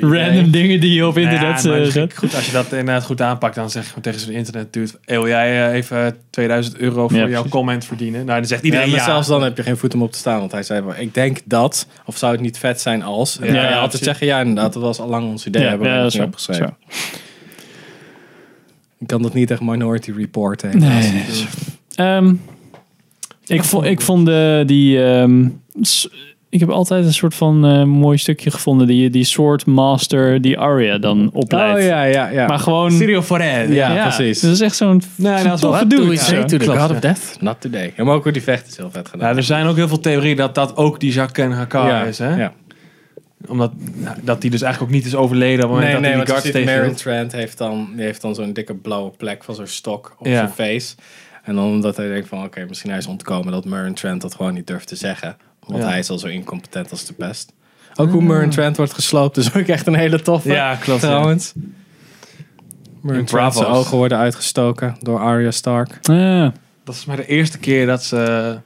[SPEAKER 1] random dingen die je op internet
[SPEAKER 2] Nou Ja, maar
[SPEAKER 1] eh,
[SPEAKER 2] misschien
[SPEAKER 1] zet?
[SPEAKER 2] goed, als je dat inderdaad goed aanpakt, dan zeg je gewoon tegen zijn internet duurt. wil jij eh, even 2000 euro voor
[SPEAKER 1] Ja,
[SPEAKER 2] jouw
[SPEAKER 1] precies.
[SPEAKER 2] comment verdienen? Nou, dan zegt iedereen
[SPEAKER 3] ja,
[SPEAKER 2] ja.
[SPEAKER 3] maar zelfs dan heb je geen voet om op te staan. Want hij zei, wel, ik denk dat, of zou het niet vet zijn als. En dan
[SPEAKER 1] Ja,
[SPEAKER 3] kan je
[SPEAKER 1] ja,
[SPEAKER 3] altijd
[SPEAKER 2] precies.
[SPEAKER 3] zeggen, ja inderdaad, dat was al lang ons idee. hebben we
[SPEAKER 1] dat
[SPEAKER 3] nog
[SPEAKER 1] is
[SPEAKER 3] niet
[SPEAKER 1] waar,
[SPEAKER 3] opgeschreven.
[SPEAKER 1] dat is
[SPEAKER 3] Ik kan dat niet echt Minority Report heen.
[SPEAKER 1] Nee, nee, dat is waar. Ehm, ik, vond, ik vond de, die... ehm, s- ik heb altijd een soort van eh, mooi stukje gevonden... die, die soort master die Arya dan opleidt.
[SPEAKER 3] Oh ja, ja, ja.
[SPEAKER 1] Maar gewoon... dus
[SPEAKER 2] Serial Forever.
[SPEAKER 3] Ja. precies.
[SPEAKER 1] Dat is echt zo'n
[SPEAKER 2] Nee, dat is wel
[SPEAKER 1] toffe
[SPEAKER 2] wat
[SPEAKER 1] dude,
[SPEAKER 2] doe je
[SPEAKER 1] ja.
[SPEAKER 2] zo.
[SPEAKER 3] to the
[SPEAKER 2] Klopt,
[SPEAKER 3] God
[SPEAKER 2] ja.
[SPEAKER 3] of Death, not today. Ja, maar ook hoe die vecht is heel vet gedaan.
[SPEAKER 2] Nou, er zijn ook heel veel theorieën dat dat ook die Jacques en Hakkar
[SPEAKER 3] ja,
[SPEAKER 2] is. Hè?
[SPEAKER 3] ja.
[SPEAKER 2] Omdat nou, dat die dus eigenlijk ook niet is overleden op het moment
[SPEAKER 3] Nee, nee,
[SPEAKER 2] dat hij
[SPEAKER 3] want
[SPEAKER 2] die
[SPEAKER 3] je
[SPEAKER 2] guards
[SPEAKER 3] ziet Maren
[SPEAKER 2] tegenhield.
[SPEAKER 3] Trent heeft dan, die heeft dan zo'n dikke blauwe plek van zo'n stok op
[SPEAKER 2] Ja.
[SPEAKER 3] zijn face. En dan omdat hij denkt van, oké, misschien hij is ontkomen dat Maren Trent dat gewoon niet durft te zeggen. Want
[SPEAKER 2] Ja. Ah.
[SPEAKER 3] hij is al zo incompetent als de pest. Ook hoe Maren Trent wordt gesloopt is ook echt een hele toffe,
[SPEAKER 2] Ja, klopt. ja.
[SPEAKER 3] trouwens. Maren
[SPEAKER 2] In
[SPEAKER 3] Trent, zijn
[SPEAKER 2] Bravos.
[SPEAKER 3] ogen worden uitgestoken door Arya Stark.
[SPEAKER 1] Ja.
[SPEAKER 2] Dat is maar de eerste keer dat ze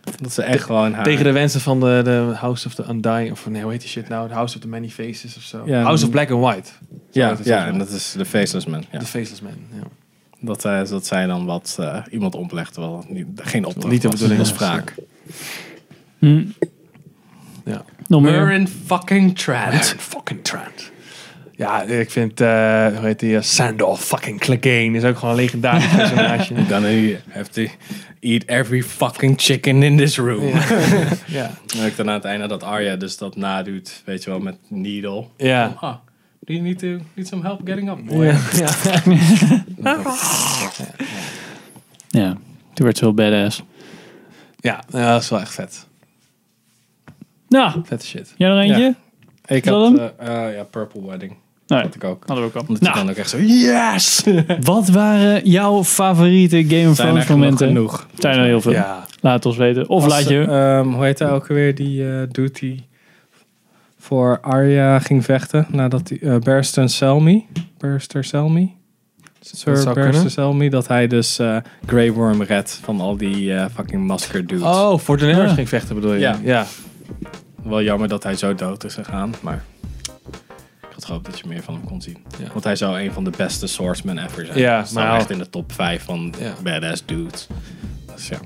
[SPEAKER 2] eh,
[SPEAKER 3] Dat ze echt gewoon haar...
[SPEAKER 2] tegen de wensen van de, de House of the Undying, of nee, hoe heet die shit nou? De House of the Many Faces of zo.
[SPEAKER 3] Ja,
[SPEAKER 2] House of Black and White.
[SPEAKER 3] ja,
[SPEAKER 2] dat is
[SPEAKER 3] ja,
[SPEAKER 2] wel.
[SPEAKER 3] en dat is de Faceless Man. Ja.
[SPEAKER 2] The Faceless Man. Ja.
[SPEAKER 3] Dat, eh, dat zij dan wat eh, iemand oplegt, terwijl dat niet, geen opdracht
[SPEAKER 2] Niet de
[SPEAKER 3] was.
[SPEAKER 2] bedoeling
[SPEAKER 3] Dat was
[SPEAKER 2] was,
[SPEAKER 3] wraak.
[SPEAKER 1] Hm.
[SPEAKER 2] Ja.
[SPEAKER 1] Nog meer.
[SPEAKER 3] Maren fucking Trent.
[SPEAKER 2] fucking trend. Ja, Ja, ik vind, eh, hoe heet die, eh, Sandor fucking Clegane is ook gewoon een legendarisch personage.
[SPEAKER 3] Dan heeft hij eat every fucking chicken in this room.
[SPEAKER 2] ja.
[SPEAKER 3] En ook dan aan het einde dat Arya dus dat nadoet, weet je wel, met Needle.
[SPEAKER 2] Ja.
[SPEAKER 3] Ah, do you need, to, need some help getting up? boy?
[SPEAKER 2] Ja.
[SPEAKER 1] Ja, toen werd ze wel badass.
[SPEAKER 2] Ja, nou, dat is wel echt vet.
[SPEAKER 1] Nou,
[SPEAKER 2] Vette shit.
[SPEAKER 1] jij nog eentje?
[SPEAKER 3] Ja. Ik
[SPEAKER 1] Zal
[SPEAKER 3] had,
[SPEAKER 1] hem?
[SPEAKER 3] eh, eh, ja, Purple Wedding.
[SPEAKER 1] Nee,
[SPEAKER 3] Had ik ook.
[SPEAKER 1] hadden we ook al.
[SPEAKER 3] Omdat je
[SPEAKER 1] Nou,
[SPEAKER 3] dan ook echt zo, yes!
[SPEAKER 1] wat waren jouw favoriete Game of
[SPEAKER 3] Zijn er
[SPEAKER 1] Thrones
[SPEAKER 3] genoeg.
[SPEAKER 1] momenten?
[SPEAKER 3] genoeg.
[SPEAKER 1] Zijn er heel veel.
[SPEAKER 2] Ja.
[SPEAKER 1] Laat het ons weten. Of
[SPEAKER 3] Was,
[SPEAKER 1] laat je...
[SPEAKER 3] ehm, hoe heet hij ook weer? Die eh doet die voor Arya ging vechten nadat die eh Barrister Selmy, Barrister Selmy,
[SPEAKER 2] Dat
[SPEAKER 3] Sir
[SPEAKER 2] zou
[SPEAKER 3] Barrister
[SPEAKER 2] kunnen.
[SPEAKER 3] Selmy, dat hij dus eh Grey Worm redt van al die eh, fucking masker dudes.
[SPEAKER 2] Oh, voor de Nerds
[SPEAKER 1] Ja.
[SPEAKER 2] ging vechten bedoel je?
[SPEAKER 3] Ja.
[SPEAKER 2] ja.
[SPEAKER 3] Wel jammer dat hij zo dood is gegaan, maar ik had gehoopt dat je meer van hem kon zien.
[SPEAKER 2] Ja.
[SPEAKER 3] Want hij zou een van de beste swordsmen ever zijn.
[SPEAKER 2] Ja,
[SPEAKER 3] Hij staat
[SPEAKER 2] maar-
[SPEAKER 3] echt in de top 5 van
[SPEAKER 2] Ja.
[SPEAKER 3] badass dudes. Dus ja.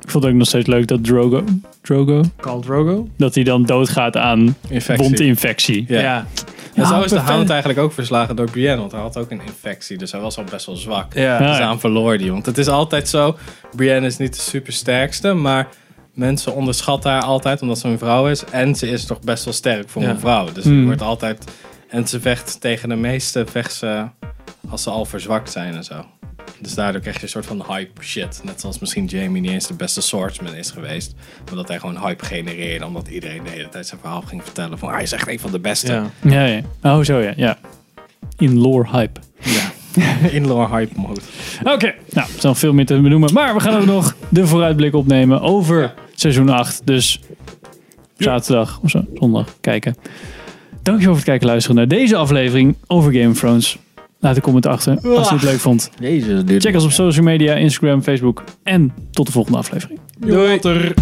[SPEAKER 1] Ik vond het ook nog steeds leuk dat Drogo... Drogo?
[SPEAKER 2] Khal Drogo?
[SPEAKER 1] Dat hij dan doodgaat aan
[SPEAKER 3] Infectie.
[SPEAKER 1] wondinfectie.
[SPEAKER 3] Ja.
[SPEAKER 2] Ja.
[SPEAKER 3] En zo
[SPEAKER 1] Ja,
[SPEAKER 3] is de
[SPEAKER 1] perfect.
[SPEAKER 3] Hound eigenlijk ook verslagen door Brienne, want hij had ook een infectie, dus hij was al best wel zwak.
[SPEAKER 2] Ja.
[SPEAKER 3] Dus
[SPEAKER 1] Ja.
[SPEAKER 3] daarom verloor hij. Want het is altijd zo, Brienne is niet de supersterkste, maar mensen onderschatten haar altijd omdat ze een vrouw is. En ze is toch best wel sterk voor
[SPEAKER 2] Ja.
[SPEAKER 3] een vrouw. Dus
[SPEAKER 1] Hmm.
[SPEAKER 3] die wordt altijd... En ze vecht tegen de meeste vecht ze als ze al verzwakt zijn en zo. Dus daardoor krijg je een soort van hype shit. Net zoals misschien Jamie niet eens de beste swordsman is geweest. Omdat hij gewoon hype genereerde. Omdat iedereen de hele tijd zijn verhaal ging vertellen. Van hij is echt een van de beste.
[SPEAKER 2] Ja.
[SPEAKER 1] Ja, ja. Oh, zo ja. ja. In lore hype.
[SPEAKER 3] Ja. Indoor hype mode.
[SPEAKER 1] Oké, nou, er is nog veel meer te benoemen. Maar we gaan ook nog de vooruitblik opnemen over seizoen 8. Dus zaterdag of zo, zondag kijken. Dankjewel voor het kijken en luisteren naar deze aflevering over Game of Thrones. Laat een comment achter als je het leuk vond.
[SPEAKER 3] Jezus, dude.
[SPEAKER 1] Check ons op social media, Instagram, Facebook. En tot de volgende aflevering.
[SPEAKER 2] Doei.